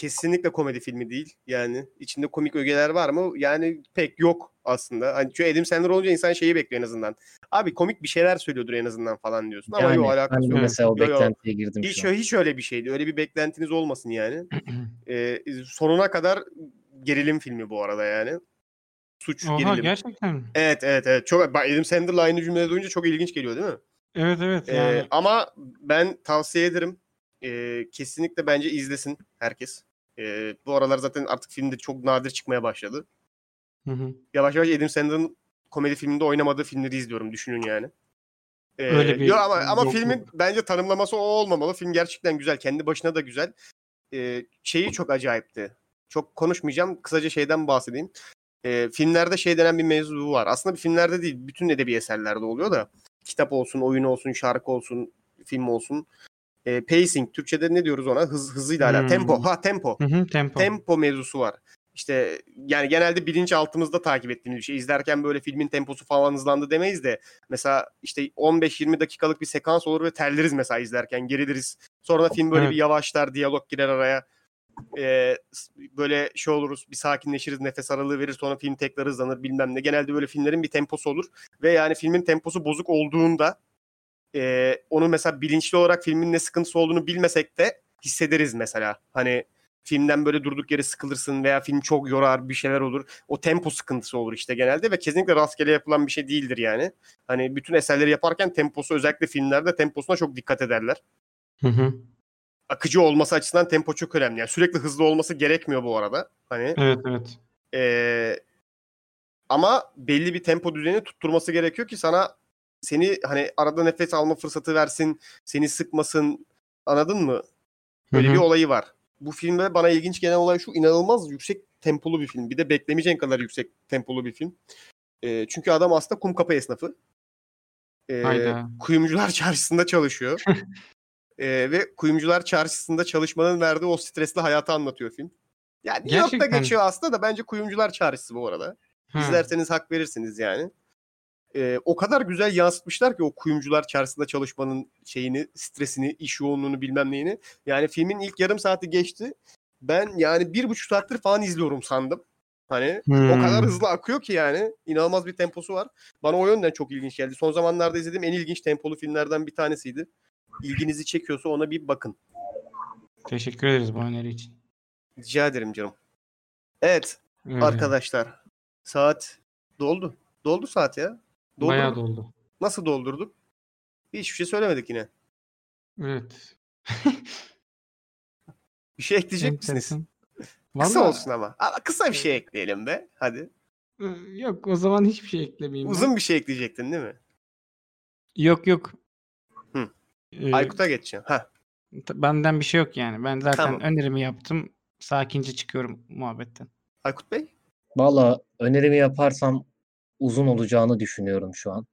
kesinlikle komedi filmi değil. Yani içinde komik ögeler var mı? Yani pek yok aslında. Hani çünkü Adam Sandler olunca insan şeyi bekliyor en azından. Abi komik bir şeyler söylüyordur en azından falan diyorsun. Ama
Yani
yok
ben de
alakası yok.
mesela o
Yo, yo.
beklentiye girdim
Hiç,
şu an.
hiç öyle bir şeydi. Öyle bir beklentiniz olmasın yani. Ee, sonuna kadar gerilim filmi bu arada yani. Suç
Oha
gerilim.
gerçekten mi?
Evet evet evet. Çok bak Adam Sandler'la aynı cümlede duyunca çok ilginç geliyor değil mi?
Evet evet
Ee,
yani.
ama ben tavsiye ederim. Ee, kesinlikle bence izlesin herkes. Ee, bu aralar zaten artık filmde çok nadir çıkmaya başladı.
Hı hı.
Yavaş yavaş Adam Sandler'ın komedi filminde oynamadığı filmleri izliyorum düşünün yani. Ee,
Öyle bir
yo ama ama
yokluk.
filmin bence tanımlaması o olmamalı. Film gerçekten güzel. Kendi başına da güzel. Ee, şeyi çok acayipti. Çok konuşmayacağım. Kısaca şeyden bahsedeyim. Ee, filmlerde şey denen bir mevzu var. Aslında bir filmlerde değil, bütün edebi eserlerde oluyor da. Kitap olsun, oyun olsun, şarkı olsun, film olsun. Ee, pacing, Türkçe'de ne diyoruz ona? Hız, hızıyla alakalı.
Hmm.
Tempo, ha tempo.
Hı hı, tempo.
Tempo mevzusu var. işte yani genelde bilinçaltımızda takip ettiğimiz bir şey. İzlerken böyle filmin temposu falan hızlandı demeyiz de mesela işte 15-20 dakikalık bir sekans olur ve terleriz mesela izlerken geriliriz. Sonra film böyle
Evet.
bir yavaşlar, diyalog girer araya. Ee, s- böyle şey oluruz, bir sakinleşiriz, nefes aralığı verir sonra film tekrar hızlanır bilmem ne. Genelde böyle filmlerin bir temposu olur ve yani filmin temposu bozuk olduğunda e, onu mesela bilinçli olarak filmin ne sıkıntısı olduğunu bilmesek de hissederiz mesela. Hani filmden böyle durduk yere sıkılırsın veya film çok yorar bir şeyler olur. O tempo sıkıntısı olur işte genelde ve kesinlikle rastgele yapılan bir şey değildir yani. Hani bütün eserleri yaparken temposu özellikle filmlerde temposuna çok dikkat ederler
Hı hı.
akıcı olması açısından tempo çok önemli. Yani sürekli hızlı olması gerekmiyor bu arada. Hani
Evet evet.
eee, ama belli bir tempo düzeni tutturması gerekiyor ki sana seni hani arada nefes alma fırsatı versin, seni sıkmasın. Anladın mı?
Hı
Böyle
hı.
bir olayı var. Bu filmde bana ilginç gelen olay şu inanılmaz yüksek tempolu bir film. Bir de beklemeyeceğin kadar yüksek tempolu bir film. Eee, çünkü adam aslında kum kapı esnafı. Eee,
Hayda.
kuyumcular çarşısında çalışıyor. Ee, ve kuyumcular çarşısında çalışmanın verdiği o stresli hayatı anlatıyor film. Yani New York'ta
Gerçekten.
geçiyor aslında da bence kuyumcular çarşısı bu arada.
Hı.
İzlerseniz hak verirsiniz yani. Ee, o kadar güzel yansıtmışlar ki o kuyumcular çarşısında çalışmanın şeyini, stresini, iş yoğunluğunu bilmem neyini. Yani filmin ilk yarım saati geçti. Ben yani bir buçuk saattir falan izliyorum sandım. Hani o kadar
Hmm.
hızlı akıyor ki yani. inanılmaz bir temposu var. Bana o yönden çok ilginç geldi. Son zamanlarda izlediğim en ilginç tempolu filmlerden bir tanesiydi. İlginizi çekiyorsa ona bir bakın.
Teşekkür ederiz bu öneri için.
Rica ederim canım. Evet
Öyle.
arkadaşlar. Saat doldu. Doldu saat ya. Doldurduk.
Bayağı doldu.
Nasıl doldurduk? Hiçbir şey söylemedik yine.
Evet.
Bir şey ekleyecek misiniz?
Enteresan.
Kısa
Vallahi-
olsun ama. Ama kısa bir şey ekleyelim be. Hadi.
Iı, e, Yok o zaman hiçbir şey eklemeyeyim. ben.
Uzun bir şey ekleyecektin değil mi?
Yok yok.
Hı.
Ee,
Aykut'a geçeceğim. Ha.
ta- benden bir şey yok yani. Ben zaten
Tamam.
önerimi yaptım. Sakince çıkıyorum muhabbetten.
Aykut Bey?
Valla önerimi yaparsam uzun olacağını düşünüyorum şu an.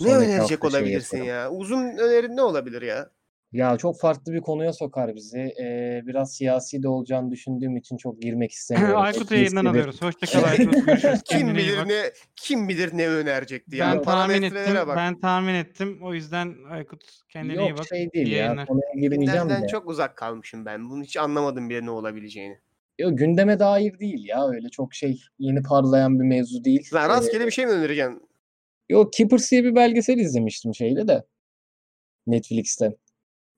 Ne
Sonraki
önerecek
hafta şey
olabilirsin
yaparım.
ya? Uzun önerin ne olabilir ya?
Ya çok farklı bir konuya sokar bizi. Ee, biraz siyasi de olacağım düşündüğüm için çok girmek istemiyorum.
Aykut'u
Etkiyi
yayından
sever-
alıyoruz. Hoşçakal Aykut. Görüşürüz.
Kim
Kendine iyi
bilir
bak.
ne kim bilir ne önerecekti ya.
Ben tahmin
Parametrelere
ettim.
bak.
Ben tahmin ettim. O yüzden Aykut kendine iyi
Yok
bak.
şey değil
İyi
ya.
yayınlar.
Konuya girmeyeceğim
Gündemden
de.
çok uzak kalmışım ben. Bunu hiç anlamadım bile ne olabileceğini.
Yok, gündeme dair değil ya. Öyle çok şey yeni parlayan bir mevzu değil.
Lan
Ee,
rastgele bir şey mi önereceksin?
Yok Keepers diye bir belgesel izlemiştim şeyde de. Netflix'te.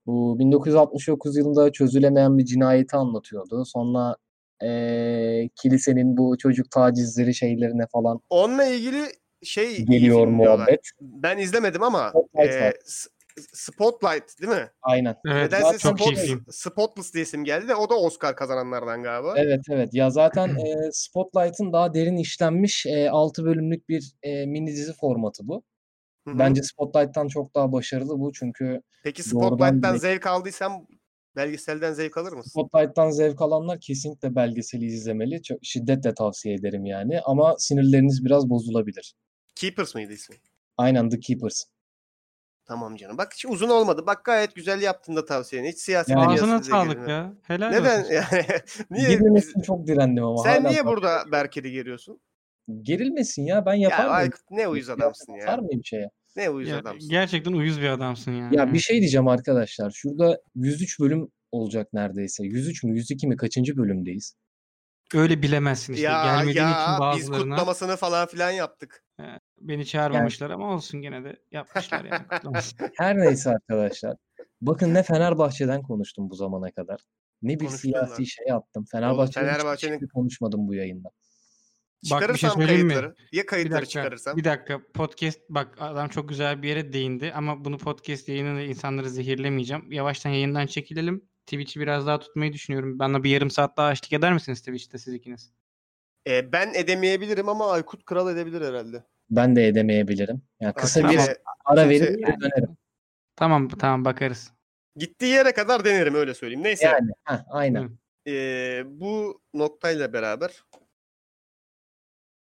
Bu 1969 yılında çözülemeyen bir cinayeti anlatıyordu. Sonra eee, kilisenin bu çocuk tacizleri şeylerine falan
Onunla ilgili şey iyi
geliyor
film diyorlar.
muhabbet.
Ben izlemedim ama
Spotlight
e,
var.
S- Spotlight değil mi?
Aynen.
Evet
Nedense
zaten
çok iyi
Spotless,
film.
Spotless diye isim geldi de o da Oscar kazananlardan galiba.
Evet evet. Ya zaten eee, Spotlight'ın daha derin işlenmiş 6 bölümlük bir eee, mini dizi formatı bu.
Hı hı.
Bence Spotlight'tan çok daha başarılı bu çünkü
Peki
doğrudan
Spotlight'tan
direkt-
zevk aldıysan belgeselden zevk alır mısın?
Spotlight'tan zevk alanlar kesinlikle belgeseli izlemeli. Çok, şiddetle tavsiye ederim yani ama sinirleriniz biraz bozulabilir.
Keepers mıydı ismi?
Aynen The Keepers.
Tamam canım. Bak hiç uzun olmadı. Bak gayet güzel yaptın da tavsiyeni. Hiç siyasete
Ya,
girmiyorsun
Ağzına
diye
sağlık
girdim.
ya. Helal
Neden?
olsun.
Yani, niye?
Gerilmesin
biz-
çok direndim ama
sen
hala
niye
bak-
burada Berker'i geriyorsun?
Gerilmesin ya ben
Ya
yapar mıyım?
Aykut ne uyuz adamsın
Atar
ya.
mıyım şeye?
Ne uyuz
Ya,
adamsın.
gerçekten uyuz bir adamsın yani.
Ya bir şey diyeceğim arkadaşlar. Şurada 103 bölüm olacak neredeyse. 103 mü 102 mi kaçıncı bölümdeyiz?
Öyle bilemezsin işte.
Ya
Gelmediğin
ya
için
biz
bazılarına
kutlamasını falan filan yaptık.
beni çağırmamışlar ama olsun gene de yapmışlar yani. kutlamasın.
Her neyse arkadaşlar. Bakın ne Fenerbahçe'den konuştum bu zamana kadar. Ne bir
Konuştun
siyasi
lan.
şey yaptım. Fenerbahçe'nin hiçbir
Fenerbahçe'nin-
şeyini konuşmadım bu yayında.
Çıkarırsam
şey söyleyeyim mi?
kayıtları. Ya
Bir
kayıtları
dakika,
çıkarırsam.
bir dakika. Podcast bak adam çok güzel bir yere değindi ama bunu podcast yayınında insanları zehirlemeyeceğim. Yavaştan yayından çekilelim. Twitch'i biraz daha tutmayı düşünüyorum. Bana bir yarım saat daha eşlik eder misiniz Twitch'te siz ikiniz?
E, ben edemeyebilirim ama Aykut Kral edebilir herhalde.
Ben de edemeyebilirim. Ya kısa
Kimse-
bir
Tamam.
ara
kimse-
verip
Yani-
dönerim.
Tamam tamam bakarız.
Gittiği yere kadar denerim öyle söyleyeyim. Neyse.
Yani heh, aynen.
Hı.
e, bu noktayla beraber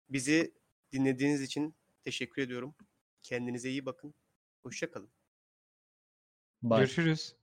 bizi dinlediğiniz için teşekkür ediyorum. Kendinize iyi bakın. Hoşçakalın.
Bye.
Görüşürüz.